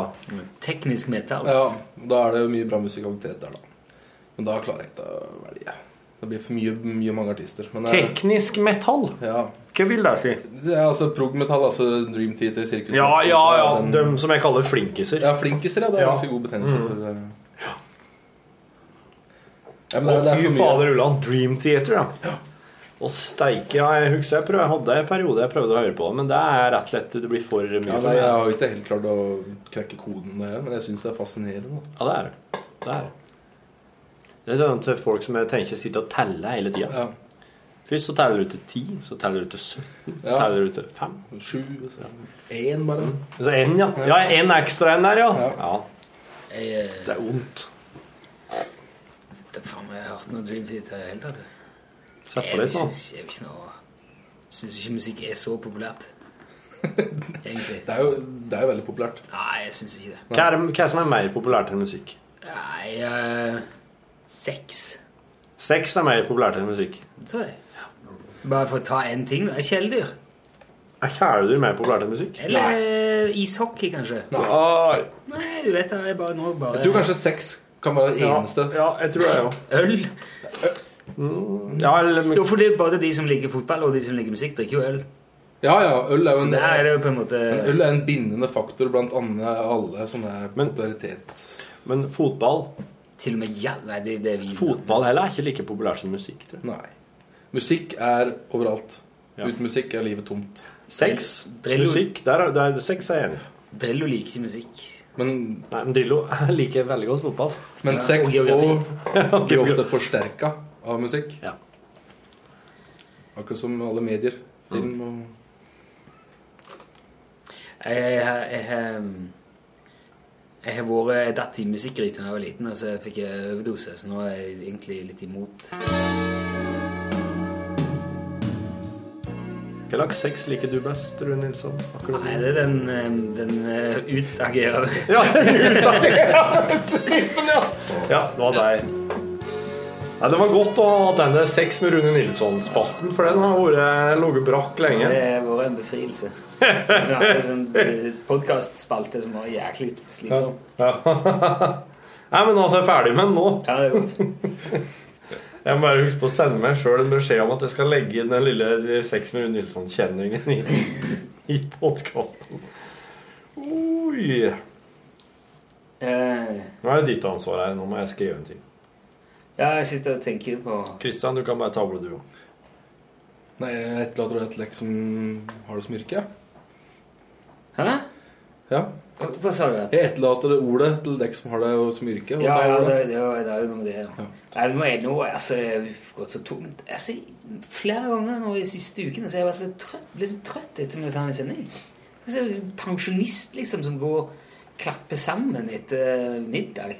Speaker 2: Teknisk metal.
Speaker 9: Ja, Da er det jo mye bra musikalitet der, da. Men da klarer jeg ikke å velge. Det blir for mye, mye mange artister. Men, eh,
Speaker 3: Teknisk metall?
Speaker 9: Ja.
Speaker 3: Hva vil det si?
Speaker 9: Det er altså prog-metall, altså Dream Theater, Sirkus
Speaker 3: Ja,
Speaker 9: Nexus,
Speaker 3: ja, ja.
Speaker 9: den-
Speaker 3: De som jeg kaller flinkiser.
Speaker 9: Ja, flinkiser, ja. Det er
Speaker 3: Ja.
Speaker 9: ganske god betegnelse
Speaker 3: Mm.
Speaker 9: for eh,
Speaker 3: Ja,
Speaker 9: men det- det er for
Speaker 3: fy
Speaker 9: mye.
Speaker 3: fader Ulland, Dream Theater, ja. Og steike, ja, jeg husker jeg, prøv, jeg hadde en periode jeg prøvde å høre på det, men det er rett og slett det blir for mye
Speaker 9: ja,
Speaker 3: for
Speaker 9: nei, Jeg har
Speaker 3: meg.
Speaker 9: jo ikke helt klart å knekke koden, det her, men jeg syns det er fascinerende. da.
Speaker 3: Ja, det er det. Det er det. Det er sånn til folk som jeg tenker sitter og teller hele tida. Først så teller du til 10, så teller du til 17, så
Speaker 9: Ja.
Speaker 3: teller du til 5.
Speaker 9: Sju Én, bare.
Speaker 2: Mm.
Speaker 3: Så en, ja. Ja, en ekstra en der, ja. ja.
Speaker 2: Jeg, eh,
Speaker 3: Det er vondt.
Speaker 2: Det er faen meg, jeg har hørt noe Dream Theater i det hele tatt. jeg.
Speaker 3: Sett på
Speaker 2: Jeg
Speaker 3: litt, nå.
Speaker 2: syns- Jeg syns ikke, syns ikke musikk er så
Speaker 3: *laughs*
Speaker 2: populært. Egentlig.
Speaker 9: Det er jo, det er jo veldig populært.
Speaker 2: Nei, jeg syns ikke det.
Speaker 3: Hva er, det- hva er det som er mer populært enn musikk?
Speaker 2: Nei eh, Sex,
Speaker 3: Sex er mer populært enn musikk.
Speaker 2: tror jeg. Bare for å ta én ting. da. Kjæledyr.
Speaker 3: Er kjæledyr mer populært enn musikk?
Speaker 2: Eller eh, ishockey, kanskje.
Speaker 3: Nei.
Speaker 2: Nei, du vet det. Jeg bare nå bare
Speaker 9: Jeg tror kanskje sex Kan være det
Speaker 3: Ja,
Speaker 9: eneste.
Speaker 3: Ja, jeg tror det, ja.
Speaker 2: Øl?
Speaker 3: Ja, eller
Speaker 2: Jo, for det er både de som liker fotball, og de som liker musikk, drikker jo øl.
Speaker 9: Ja, ja, øl er jo en,
Speaker 2: Så det er jo på en måte
Speaker 9: men øl er en bindende faktor blant andre, alle sånne popularitet.
Speaker 3: Men fotball
Speaker 2: Til og med ja, nei, det, det er vi
Speaker 3: Fotball heller er ikke like populært som musikk. Tror jeg.
Speaker 9: Nei. Musikk er overalt. Uten musikk er livet tomt.
Speaker 3: Sex,
Speaker 2: Drillo-
Speaker 3: musikk der er, der, Sex er jeg enig i.
Speaker 2: Drillo liker ikke musikk.
Speaker 9: Men,
Speaker 3: Nei, men Drillo *laughs* liker veldig godt fotball.
Speaker 9: Men
Speaker 3: Ja,
Speaker 9: sex
Speaker 3: og geografi.
Speaker 9: og blir ofte forsterka av musikk. Akkurat som alle medier.
Speaker 2: Mm.
Speaker 9: Film og
Speaker 2: Jeg, jeg, jeg, eh, jeg har vært jeg datt i musikkgryta da jeg var liten, og så fikk jeg overdose, så nå er jeg egentlig litt imot.
Speaker 3: Hva slags sex liker du best, Rune Nilsson? Akkurat
Speaker 2: Nei, det er den, eh, den eh, utagerende.
Speaker 3: *laughs* Ja, utagerende! Ja, det var deg. Nei, det var godt å ha den der sex med Rune Nilsson-spalten, for den har vært ligget brakk lenge.
Speaker 2: Det har vært en befrielse. Vi har en sånn podkastspalte som var jæklig slitsom.
Speaker 3: Ja. *laughs* Nei, men altså, jeg er ferdig med den nå.
Speaker 2: Ja, det er godt.
Speaker 3: *laughs* Jeg må bare huske på å sende meg sjøl en beskjed om at jeg skal legge inn den lille Sex med Rune Nilsson-kjenningen i, *laughs* i podkasten. Oi!
Speaker 2: Eh,
Speaker 3: Nå er det ditt ansvar her. Nå må jeg skrive en ting.
Speaker 2: Ja, jeg sitter og tenker på
Speaker 3: Kristian, du kan bare ta ordet, du òg.
Speaker 9: Nei, jeg etterlater et lekk som har det som yrke.
Speaker 2: Hæ?
Speaker 9: Ja.
Speaker 2: Hva sa du?
Speaker 9: Jeg etterlater det ordet til dekk som har det som yrke. og
Speaker 2: Ja,
Speaker 9: tar
Speaker 2: ja,
Speaker 9: ordet.
Speaker 2: det, det, var- det er jo noe med det. Ja. Nei, nå er det noe, altså, jeg har gått så tomt. Altså, flere ganger nå i siste ukene så har jeg vært så trøtt, ble så trøtt etter vi var ferdig med sending. Altså, pensjonist liksom som går og klapper sammen etter eh, middag.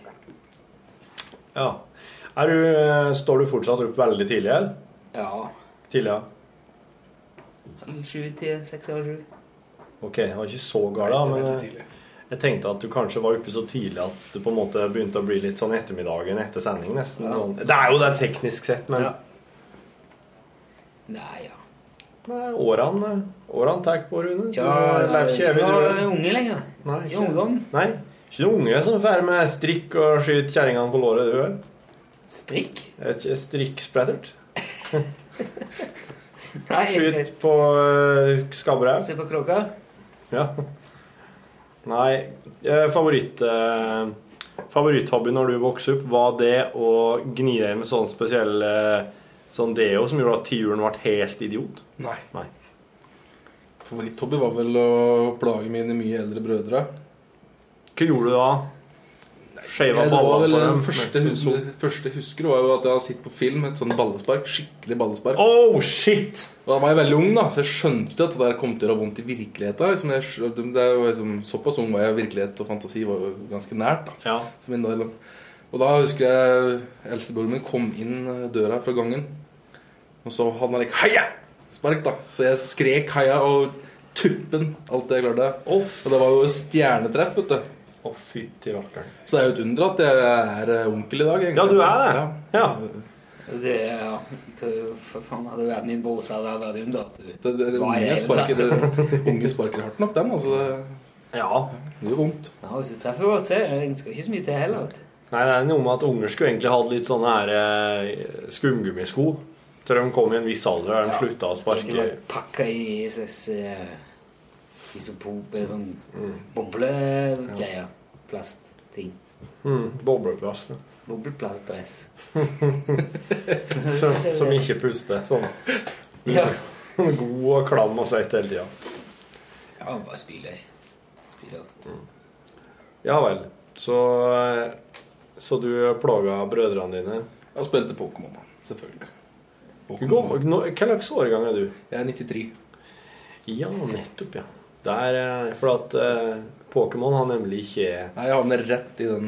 Speaker 3: Ja. Er du, eh, står du fortsatt opp veldig tidlig, eller?
Speaker 2: Ja.
Speaker 3: Tidligere?
Speaker 2: halv Sju til seks over sju.
Speaker 3: Ok, det var ikke så galt, da, men eh, jeg, jeg tenkte at du kanskje var oppe så tidlig at du på en måte begynte å bli litt sånn ettermiddagen etter sending, nesten.
Speaker 2: Ja.
Speaker 3: Sånn. Det er jo det teknisk sett, men
Speaker 2: Nei, ja.
Speaker 3: årene, årene tar på, Rune.
Speaker 2: Ja,
Speaker 3: du lærer ikke
Speaker 2: eh,
Speaker 3: evig,
Speaker 2: jeg er
Speaker 3: du.
Speaker 2: unge lenger.
Speaker 3: Nei,
Speaker 2: Jeg er ungdom.
Speaker 3: Nei, ikke noen unge som drar med strikk og skyter kjerringene på låret, du, eller?
Speaker 2: Strikk?
Speaker 3: Er ikke strikksprettert?
Speaker 2: Nei, jeg-
Speaker 3: Skyt på uh, skabberaug.
Speaker 2: Se på kråka.
Speaker 3: Ja. Nei, eh, favoritt eh, favoritthobby når du vokste opp, var det å gni deg med sånn spesiell eh, sånn deo som gjorde at tiuren ble helt idiot?
Speaker 9: Nei.
Speaker 3: Nei.
Speaker 9: Favoritthobby var vel å plage mine mye eldre brødre.
Speaker 3: Hva gjorde du da? Skeiva
Speaker 9: Jeg- det var
Speaker 3: baller
Speaker 9: vel
Speaker 3: på dem?
Speaker 9: den første, hus første husker var jo at jeg har sett på film et sånn ballespark. Skikkelig ballespark.
Speaker 3: Oh, shit!
Speaker 9: Og da var jeg veldig ung, da, så jeg skjønte ikke at det der kom til å gjøre vondt i virkeligheten. Liksom, jeg, skjø- det var liksom, såpass ung var jeg, virkelighet og fantasi var jo ganske nært. da. For min del. Og da husker jeg eldstebroren min kom inn eh, døra fra gangen, og så hadde han like 'heia!' spark, da. Så jeg skrek 'heia' og tuppen alt det jeg klarte. og det var jo stjernetreff, vet du.
Speaker 3: Å, fytti rakkeren.
Speaker 9: Så det er jo et under at jeg er eh, onkel i dag. egentlig.
Speaker 3: Ja, du er det. Ja.
Speaker 2: Det, ja. det- For faen, hadde verden min bror, så hadde jeg vært under. at du-
Speaker 9: Det, det, det,
Speaker 2: Hva er
Speaker 9: unge,
Speaker 2: det?
Speaker 9: sparker, det, unge sparker hardt nok, den. altså.
Speaker 3: Ja.
Speaker 9: Det gjør vondt.
Speaker 2: Ja, hvis du treffer godt, så er det- det skal ikke så mye til heller. vet du.
Speaker 3: Nei, det er noe med at unger skulle egentlig hatt litt sånne her eh, skumgummisko til de kom i en viss alder og de slutta å
Speaker 2: Det var
Speaker 3: sparke.
Speaker 2: pakka i SS eh, isopop, eh, sånn boblegreier. Plastting.
Speaker 3: Mm, Bobleplast. ja.
Speaker 2: Bobleplastdress.
Speaker 3: Som, som ikke puster. Sånn.
Speaker 2: Ja.
Speaker 3: *laughs* God og klam og svett hele tida.
Speaker 2: Ja, bare spyle. Spyle.
Speaker 3: Ja vel. Så, så du plaga brødrene dine?
Speaker 9: Og spilte Pokémon, da. Selvfølgelig.
Speaker 3: Gå- nå- Hva slags årgang er du?
Speaker 9: Jeg er 93.
Speaker 3: Ja, nettopp, ja. Det er eh, for at eh, Pokémon har nemlig ikke
Speaker 9: Nei, jeg havner rett i den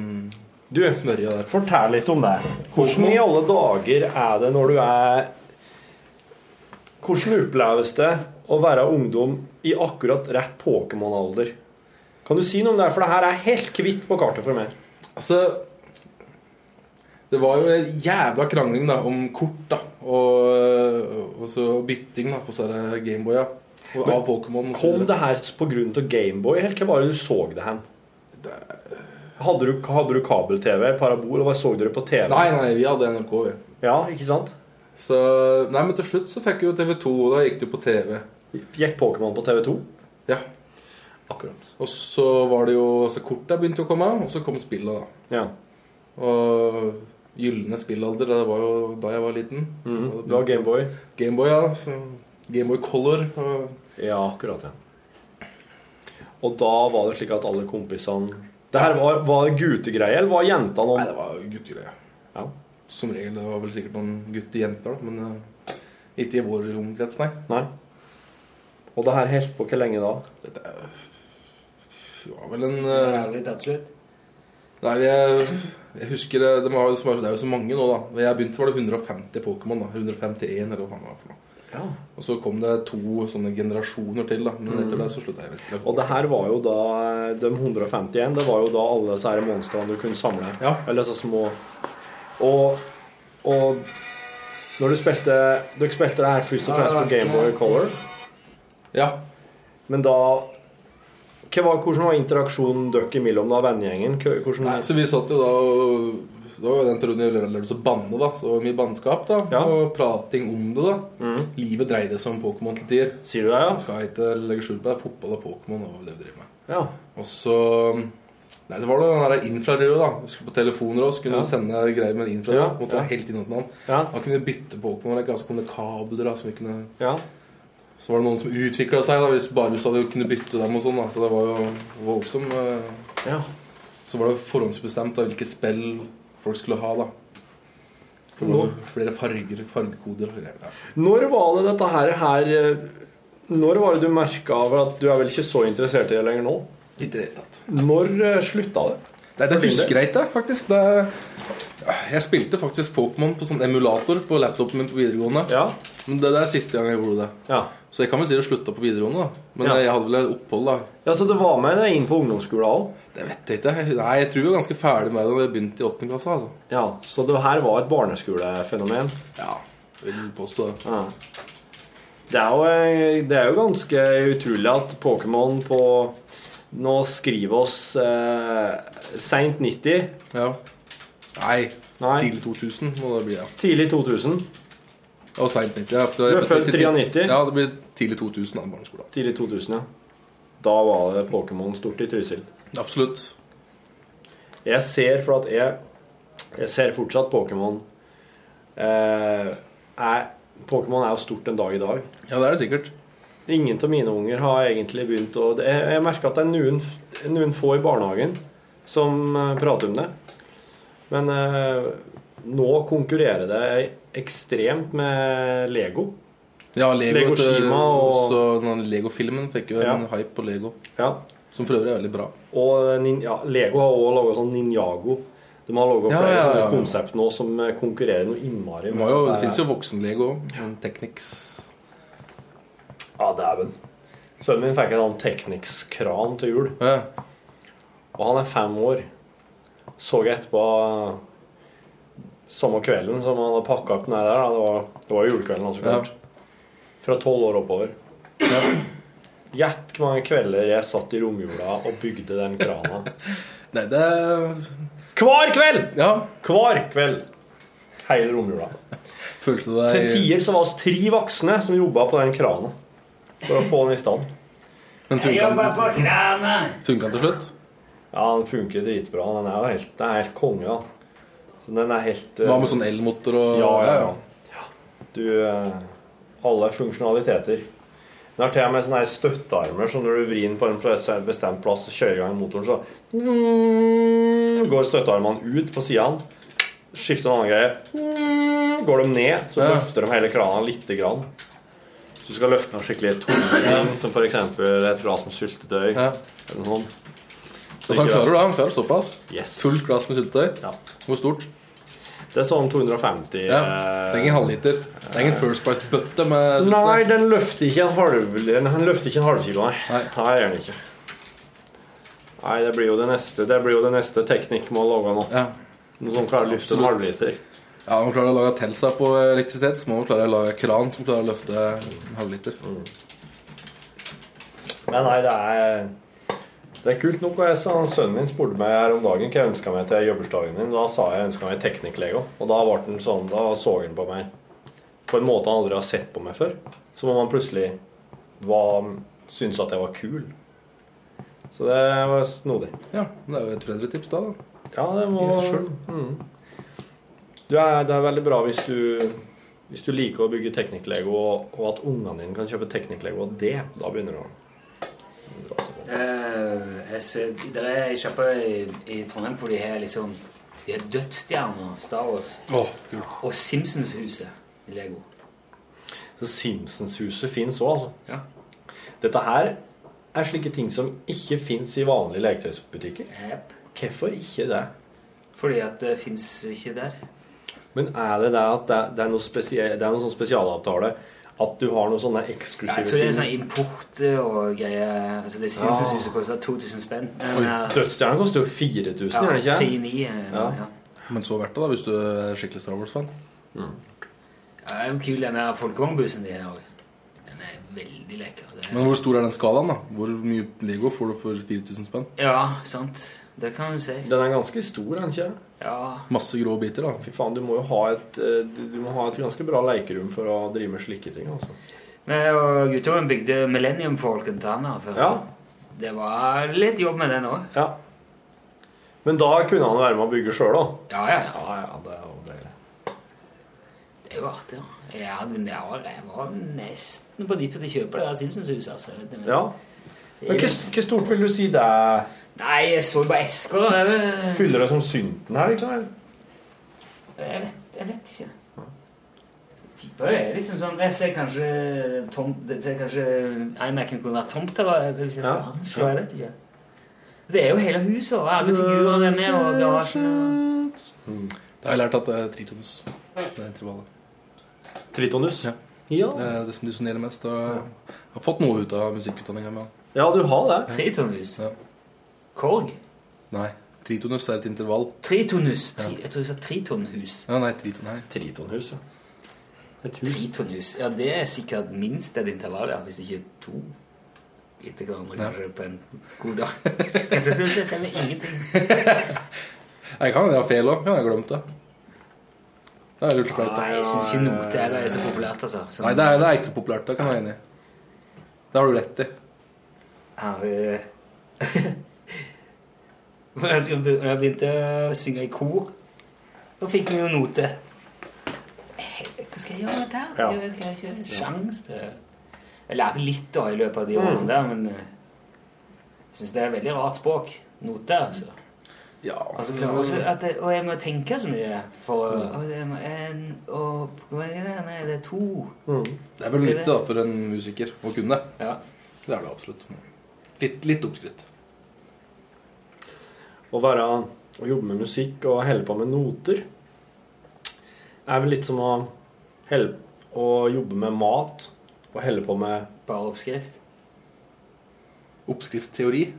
Speaker 3: du,
Speaker 9: smørja der.
Speaker 3: Fortell litt om det. Hvordan i alle dager er det når du er Hvordan oppleves det å være ungdom i akkurat rett Pokémon-alder? Kan du si noe om det? For det her er helt hvitt på kartet for meg.
Speaker 9: Altså, Det var jo en jævla krangling da, om kort da, og, og så bytting da, på sånne Gameboya. Og av Pokémon. og så
Speaker 3: Kom
Speaker 9: videre.
Speaker 3: det her på grunn av Gameboy? Helt hva var det du så det hen? Hadde du, hadde du kabel-TV, parabol, og hva så dere på TV?
Speaker 9: Nei, nei, vi hadde NRK, vi.
Speaker 3: Ja, ikke sant?
Speaker 9: Så, nei, men til slutt så fikk vi jo TV2, og da gikk det jo på TV.
Speaker 3: Gikk Pokémon på TV2?
Speaker 9: Ja.
Speaker 3: Akkurat.
Speaker 9: Og så var det jo så korta begynte å komme, og så kom spilla, da.
Speaker 3: Ja.
Speaker 9: Og gylne spillalder, det var jo da jeg var liten.
Speaker 3: Mhm.
Speaker 9: Og-
Speaker 3: Du har Gameboy?
Speaker 9: Gameboy, ja. Så- Gameboy Color. Og...
Speaker 3: Ja, akkurat, ja. Og da var det slik at alle kompisene Det her var, var det gutegreie, eller var jentene noen... Nei,
Speaker 9: det var guttegreie.
Speaker 3: Ja.
Speaker 9: Som regel. Det var vel sikkert noen guttejenter, da, men eh, ikke i vår omkrets, nei.
Speaker 3: Nei. Og det her holdt på hvor lenge da?
Speaker 9: Dette er- det var vel en eh,
Speaker 2: Ærlig talt slutt.
Speaker 9: Nei, jeg, jeg husker det, det, var, jo så- det er jo så mange nå, da. Da jeg begynte, var det 150 Pokémon. da, 151, eller hva faen det var for noe.
Speaker 3: Ja.
Speaker 9: Og så kom det to sånne generasjoner til, da. Men
Speaker 3: Mm.
Speaker 9: etter det så slutta jeg. vet ikke.
Speaker 3: Og det her var jo da De 151, det var jo da alle disse her monstrene du kunne samle. Eller så små Og, og når du spilte Dere spilte det her først og fremst på Gameboy Color.
Speaker 9: Ja.
Speaker 3: Men da hva var, Hvordan var interaksjonen dere imellom, da, vennegjengen? Hva- Hvordan
Speaker 9: Nei, så vi satt jo da og Det var jo den perioden jeg lærte å banne, da. Så det var mye bannskap da, og prating om det. da.
Speaker 3: Mm.
Speaker 9: Livet dreide seg om Pokémon til tider.
Speaker 3: Sier du det, ja?
Speaker 9: Man skal ikke legge skjul på det. Fotball og Pokémon var det vi drev med.
Speaker 3: Ja.
Speaker 9: Og så Nei, det var da den der infrarøde, da. Husker på telefoner også, kunne
Speaker 3: Ja.
Speaker 9: du sende greier med infrarød.
Speaker 3: Ja,
Speaker 9: Måtte
Speaker 3: ja.
Speaker 9: være helt innom den. Da kunne vi bytte Pokémon. ikke? Altså kom det kabler da, som vi kunne Så var det noen som utvikla seg, da, hvis bare hvis du hadde kunne bytte dem og sånn. da, Så det var jo voldsom eh. Så var det forhåndsbestemt da, hvilke spill folk skulle ha, da. Det var jo Flere farger, fargekoder og greier. Ja.
Speaker 3: Når var det dette her, her eh, Når var det du merka at du er vel ikke så interessert i det lenger nå?
Speaker 9: Ikke i det hele tatt.
Speaker 3: Når eh, slutta det?
Speaker 9: Nei, det
Speaker 3: For din
Speaker 9: husker
Speaker 3: del?
Speaker 9: jeg ikke, faktisk. Det, jeg spilte faktisk Pokémon på sånn emulator på laptopen min på videregående. Men det, det er siste gang jeg gjorde det. Så jeg kan vel si det slutta på videregående, da. Men
Speaker 3: Ja.
Speaker 9: jeg hadde vel et opphold, da.
Speaker 3: Ja, Så det var med deg inn på ungdomsskolen òg?
Speaker 9: Det vet jeg ikke. Jeg- Nei, jeg tror jeg var ganske ferdig med det da jeg begynte i åttende klasse. altså.
Speaker 3: Ja, Så det her var et barneskolefenomen?
Speaker 9: Ja, vil påstå det.
Speaker 3: Ja. Det er, jo, eh, det er jo ganske utrolig at Pokémon på Nå skriver oss eh, seint 90.
Speaker 9: Ja. Nei, Tidlig 2000 må det bli. ja.
Speaker 3: Tidlig 2000.
Speaker 9: Og seint 90. Ja, for
Speaker 3: Du
Speaker 9: det-
Speaker 3: er født 93.
Speaker 9: Ja, det blir tidlig 2000 da, barneskolen.
Speaker 3: Tidlig 2000, ja. Da var det Pokémon stort i Trysil.
Speaker 9: Absolutt.
Speaker 3: Jeg ser for at jeg Jeg ser fortsatt Pokémon eh, er- Pokémon er jo stort en dag i dag.
Speaker 9: Ja, det er det sikkert.
Speaker 3: Ingen av mine unger har egentlig begynt å det- Jeg, jeg merker at det er noen, noen få i barnehagen som eh, prater om det. Men eh, nå konkurrerer det ekstremt med Lego.
Speaker 9: Ja, Lego,
Speaker 3: Lego
Speaker 9: til-
Speaker 3: Shima og-
Speaker 9: også den Lego-filmen fikk jo en hype på Lego. Som for øvrig er veldig bra.
Speaker 3: Og eh, nin, ja, Lego har også laga sånn Ninjago. De har laga
Speaker 9: Ja,
Speaker 3: flere
Speaker 9: ja, ja, ja.
Speaker 3: sånne konsept nå som eh, konkurrerer noe innmari.
Speaker 9: Det,
Speaker 3: med
Speaker 9: var jo,
Speaker 3: at
Speaker 9: det
Speaker 3: er-
Speaker 9: fins jo voksen-Lego òg. Technics.
Speaker 3: Ja, dæven. Sønnen min fikk en sånn Technics-kran til jul. Og han er fem år. Så jeg etterpå eh, samme kvelden som han hadde pakka opp den her der. da. Det var, det var julekvelden, altså.
Speaker 9: Ja.
Speaker 3: klart. Fra tolv år oppover. Gjett hvor mange kvelder jeg satt i romjula og bygde den krana.
Speaker 9: Nei, det
Speaker 3: Hver kveld!
Speaker 9: Ja.
Speaker 3: Hver kveld. Hele romjula.
Speaker 9: Følte du deg
Speaker 3: Til tider så var oss tre voksne som jobba på den krana for å få den i stand.
Speaker 9: Men funka den,
Speaker 12: på krana!
Speaker 9: funka den til slutt?
Speaker 3: Ja, den funker dritbra. Den er jo helt, den er helt konge, da. Så den er helt eh,
Speaker 9: Hva med sånn elmotor og
Speaker 3: ja, ja, ja. Du eh, Alle funksjonaliteter. Den har til og med sånne her støttearmer, så når du vrir den på en plass- en bestemt plass og kjører i gang motoren, så mm, går støttearmene ut på sidene. Skifter en annen greie. Går de ned, så
Speaker 9: Ja.
Speaker 3: løfter de hele krana lite grann. Så du skal løfte noe skikkelig
Speaker 9: *clears throat*
Speaker 3: tungt, som f.eks. et glass med syltetøy.
Speaker 9: Ja.
Speaker 3: Eller noe sånt.
Speaker 9: Så han klarer det, han klarer såpass?
Speaker 3: Yes.
Speaker 9: Fullt glass med syltetøy? Hvor stort?
Speaker 3: Det er sånn 250
Speaker 9: Ja.
Speaker 3: eh,
Speaker 9: Trenger en halvliter. altså. Det er ingen First Price-bøtte med
Speaker 3: Nei, den løfter ikke en halv Den løfter ikke en halv kilo, nei. Nei, det gjør den ikke. Nei, det blir jo det neste Det blir jo det neste teknikk må lage nå.
Speaker 9: Ja.
Speaker 3: Noen som klarer å løfte
Speaker 9: Absolutt.
Speaker 3: en halvliter.
Speaker 9: Ja, man klarer å lage Telsa på elektrisitet, så må man klare å lage kran som klarer å løfte en halvliter.
Speaker 3: Men nei, det er Det er kult nok. og jeg sa, Sønnen min spurte meg her om dagen hva jeg ønska meg til jobbursdagen min. Da sa jeg ønska meg teknikk-Lego. Og da ble den sånn, da så han på meg på en måte han aldri har sett på meg før. Som om han plutselig var, syntes at jeg var kul. Så det var snodig.
Speaker 9: Ja, det er jo et foreldretips da, da.
Speaker 3: Ja, det må
Speaker 9: I seg selv.
Speaker 3: Mm. Du er, det er veldig bra hvis du, hvis du liker å bygge teknikk-Lego, og, og at ungene dine kan kjøpe teknikk-Lego, og det, da begynner du å
Speaker 2: Eh, jeg ser, der er ei sjappe i, i Trondheim hvor de har liksom De har dødsstjerner, Star Wars. Og Simpsons-huset i Lego.
Speaker 3: Så Simpsons-huset fins òg, altså. Dette her er slike ting som ikke fins i vanlige leketøysbutikker. Hvorfor ikke det?
Speaker 2: Fordi at det fins ikke der.
Speaker 3: Men er det det at det, det er noe spesie- det er noen sånn spesialavtale at du har noen sånne
Speaker 2: Ja,
Speaker 3: eksklusive
Speaker 2: jeg tror det er sånn import og greier. Altså, det Simpsons-huset koster 2000 spenn.
Speaker 3: Ah.
Speaker 2: Eh,
Speaker 3: Oi, Dødsstjerna koster jo 4000,
Speaker 2: Ja,
Speaker 3: gjør den ikke?
Speaker 2: 39, eller noe, eh, ja.
Speaker 9: Men så verdt det, da, hvis du er skikkelig Star Wars-fan.
Speaker 2: Ja, det er jo kul den der folkevognbussen de har. Den er veldig lekker. Det er-
Speaker 9: Men hvor stor er den skalaen, da? Hvor mye Lego får du for 4000 spenn?
Speaker 2: Ja, sant. Det kan du si.
Speaker 3: Den er ganske stor, er den ikke?
Speaker 2: Ja.
Speaker 9: Masse grå biter, da.
Speaker 3: Fy faen, du må jo ha et, eh, du du må ha et ganske bra lekerom for å drive med slike ting. altså.
Speaker 2: Vi og gutteungen bygde Millennium Falcon til han her før.
Speaker 3: Ja.
Speaker 2: Det var litt jobb med den òg.
Speaker 3: Ja. Men da kunne han være med å bygge sjøl, da.
Speaker 2: Ja, ja, ja.
Speaker 3: ja, ja det er jo deilig.
Speaker 2: Det er jo artig. da. Jeg, hadde, jeg, var, jeg var nesten på nippet til å kjøpe det der Simpsons-huset. altså. vet du, men-
Speaker 3: Ja. Men hvor hvor stort vil du si det er?
Speaker 2: Nei, jeg så jo bare esker. da. Det er vel-
Speaker 3: Fyller det som synten her, liksom? eller?
Speaker 2: Jeg vet, jeg vet ikke. Tipper det er liksom sånn Jeg ser kanskje tom, det ser kanskje iMac-en kunne vært tomt, eller eh, hvis jeg skal
Speaker 3: Ja.
Speaker 2: anslå. Jeg vet ikke. Det er jo hele huset og alle figurene nede og garasjen. og-
Speaker 9: Da har jeg lært at det er tritonus. Det er intervallet.
Speaker 3: Tritonus?
Speaker 9: Ja.
Speaker 3: Ja.
Speaker 9: Det er det som dissonerer mest. Og jeg har fått noe ut av musikkutdanninga mi.
Speaker 3: Ja, du har det.
Speaker 2: Tritonus?
Speaker 9: Ja.
Speaker 2: Korg?
Speaker 9: Nei. Tritonus er et intervall.
Speaker 2: Tritonus? Tri, jeg tror du sa tritonhus.
Speaker 9: Ja, nei, triton her.
Speaker 3: Tritonhus, ja. Et hus.
Speaker 2: Tritonhus. Ja, det er sikkert minst et intervall, ja. Hvis ikke to etter hverandre,
Speaker 9: Ja.
Speaker 2: kanskje, på en god dag. Jeg synes det stemmer ingenting.
Speaker 9: Jeg kan ha feil òg. Kan jeg ha glemt det. Det er lurt flaut. da.
Speaker 2: Nei, jeg syns ikke note heller er så populært, altså. Sånn-
Speaker 9: Nei, det er, det er ikke så populært. Det kan jeg være enig i. Det har du rett i.
Speaker 2: Ja, eh, *laughs* Når jeg skulle be- når jeg begynte å synge i kor, da fikk vi jo note. Hva skal jeg gjøre med det?
Speaker 6: Ja.
Speaker 2: her? Jeg skal ikke ha en sjans til Jeg lærte litt da i løpet av de årene
Speaker 6: Mm.
Speaker 2: der, men eh, jeg syns det er et veldig rart språk. Noter, altså.
Speaker 9: Ja.
Speaker 2: Altså, klar, også at det, og jeg må tenke så mye for å
Speaker 6: Mm.
Speaker 2: å, det må, en, og, Hvor mange er det? Nei, det er to.
Speaker 3: Mm.
Speaker 9: Det er vel nyttig da, for en musiker å kunne det.
Speaker 3: Det
Speaker 9: er det absolutt. Litt, litt oppskrytt.
Speaker 3: Å være Å jobbe med musikk og holde på med noter er vel litt som å helle, Å jobbe med mat og holde på med
Speaker 2: Bare oppskrift?
Speaker 9: Oppskriftsteori.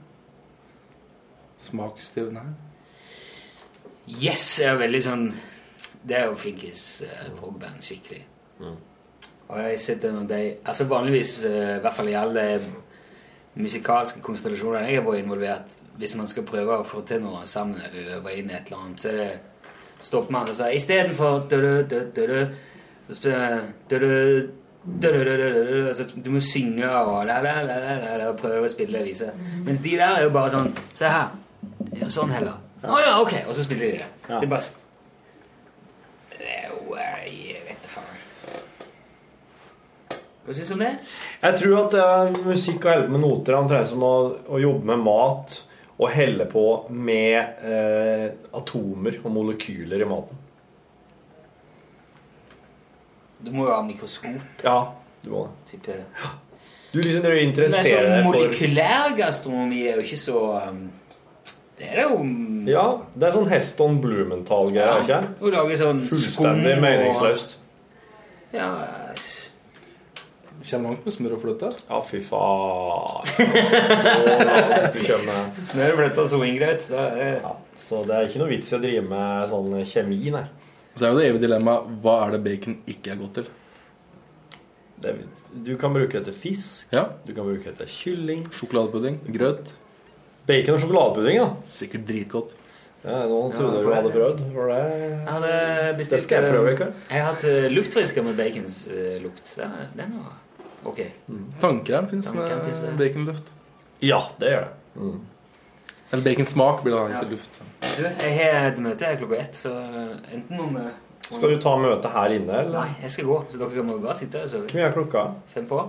Speaker 9: Smaksteori Nei.
Speaker 2: Yes er veldig sånn Det er jo flinkis eh, progband, skikkelig. Og jeg sitter med de Altså vanligvis, eh, i hvert fall i alle musikalske konstellasjoner jeg har vært involvert Hvis man skal prøve å få til noe sammen, eller øve inn et eller annet, så er det stopp med andre steder. Istedenfor dødø-dødø Så spiller jeg dødø dødø-dødø altså, Du må synge og la, la, la, la, la, la, og prøve å spille og vise. Mens de der er jo bare sånn Se her. Ja, sånn heller. Å ja, ok. Og så spiller de det. Det er bare s- Det er jo eh, Jeg vet da faen. Hva syns du om det?
Speaker 3: Jeg tror at eh, musikk og helle med noter er omtrent som å, å jobbe med mat og helle på med eh, atomer og molekyler i maten.
Speaker 2: Du må jo ha mikroskop.
Speaker 3: Ja, du må det.
Speaker 2: Type.
Speaker 3: Du liksom du
Speaker 2: Men
Speaker 3: interesserer
Speaker 2: sånn
Speaker 3: deg for
Speaker 2: molekylær gastronomi er jo ikke så um, Det er det jo um,
Speaker 3: Ja, det er sånn Heston
Speaker 2: Ja,
Speaker 3: Blumenthal-greier, ikke
Speaker 2: Å lage sånn skum
Speaker 3: Fullstendig
Speaker 2: og-
Speaker 3: meningsløst.
Speaker 2: Ja,
Speaker 9: Kjenner langt med smør og fløte.
Speaker 3: Ja, fy faen. Så langt du kommer.
Speaker 2: Smør, fløte og soingrøt. Ja,
Speaker 3: så det er ikke noe vits i å drive med sånn kjemi, nei.
Speaker 9: Så er jo det evige dilemmaet hva er det bacon ikke er godt til?
Speaker 3: Det, du kan bruke det til fisk.
Speaker 9: Ja.
Speaker 3: Du kan bruke det til kylling.
Speaker 9: Sjokoladepudding. Grøt.
Speaker 3: Bacon og sjokoladepudding, da. Sikkert dritgodt. Ja, nå trodde jeg du hadde prøvd. Var det
Speaker 2: Jeg hadde bestilt,
Speaker 3: Det skal jeg prøve i kveld.
Speaker 2: eh, Jeg har hatt eh, luftfrisker med baconslukt. Den, er- den var ok.
Speaker 9: Tannkrem fins
Speaker 2: Tannkrem finnes
Speaker 9: med
Speaker 2: det.
Speaker 9: baconluft.
Speaker 3: Ja, det gjør det. Mm.
Speaker 9: Eller baconsmak blir det da,
Speaker 2: Ja.
Speaker 9: ikke luft.
Speaker 2: Du, jeg har et møte her klokka ett, så enten om eh, om-
Speaker 3: Skal du ta møtet her inne, eller?
Speaker 2: Nei, jeg skal gå, så dere kan bare gå og sitte og sove.
Speaker 3: Hvor mye er klokka?
Speaker 2: Fem på.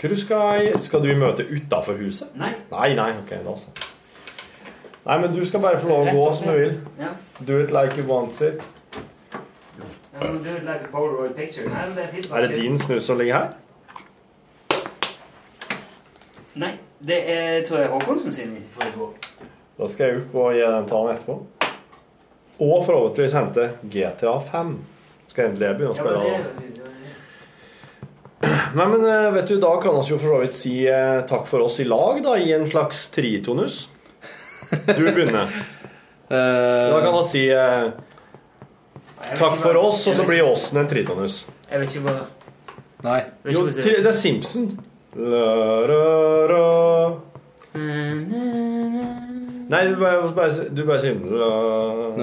Speaker 3: Hvor skal, jeg- skal du i møte utafor huset?
Speaker 2: Nei.
Speaker 3: Nei, nei, ok, da så. Nei, men du skal bare få lov å
Speaker 2: Rett
Speaker 3: gå
Speaker 2: og
Speaker 3: som du vil.
Speaker 2: slett. Ja.
Speaker 3: Do it like you want it.
Speaker 2: Ja, men du, like a Polaroid picture. Nei, men det er, fint,
Speaker 3: Er det din snus som ligger her?
Speaker 2: Nei, det er, tror jeg Håkonsen sin fra i går.
Speaker 3: Da skal jeg opp og gi den til han etterpå. Og forhåpentligvis hente GTA 5. Skal endelig jeg begynne å
Speaker 2: Ja, men
Speaker 3: spille.
Speaker 2: det
Speaker 3: Ja,
Speaker 2: er jo sikkert-
Speaker 3: Nei, men eh, vet du, Da kan vi jo for så vidt si eh, takk for oss i lag, da, i en slags tritonus. Du begynner. da kan vi si eh, takk for oss, og så blir åsen en tritonus.
Speaker 2: Jeg vet ikke hva
Speaker 9: Nei.
Speaker 3: Jo, tri, det er Simpson. La-ra-ra. Nei, du bare, bare, du bare sier la-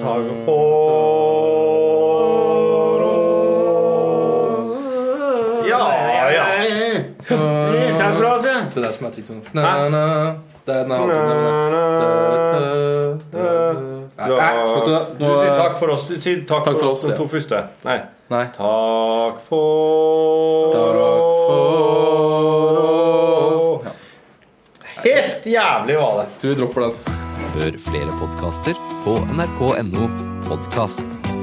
Speaker 3: Takk for Ja, ja.
Speaker 2: Takk for oss, ja.
Speaker 9: Eh, Det er det som er triktonen. Na-na, det er den halve tonen.
Speaker 3: Du
Speaker 9: skal ikke det.
Speaker 3: du
Speaker 9: Nå-
Speaker 3: sier takk for oss. Si takk, for, oss, de
Speaker 9: ja.
Speaker 3: to første. Nei.
Speaker 9: Nei.
Speaker 3: Takk for oss. Helt jævlig var det.
Speaker 9: Tror vi dropper den.
Speaker 4: Hør flere podkaster på nrk.no podkast.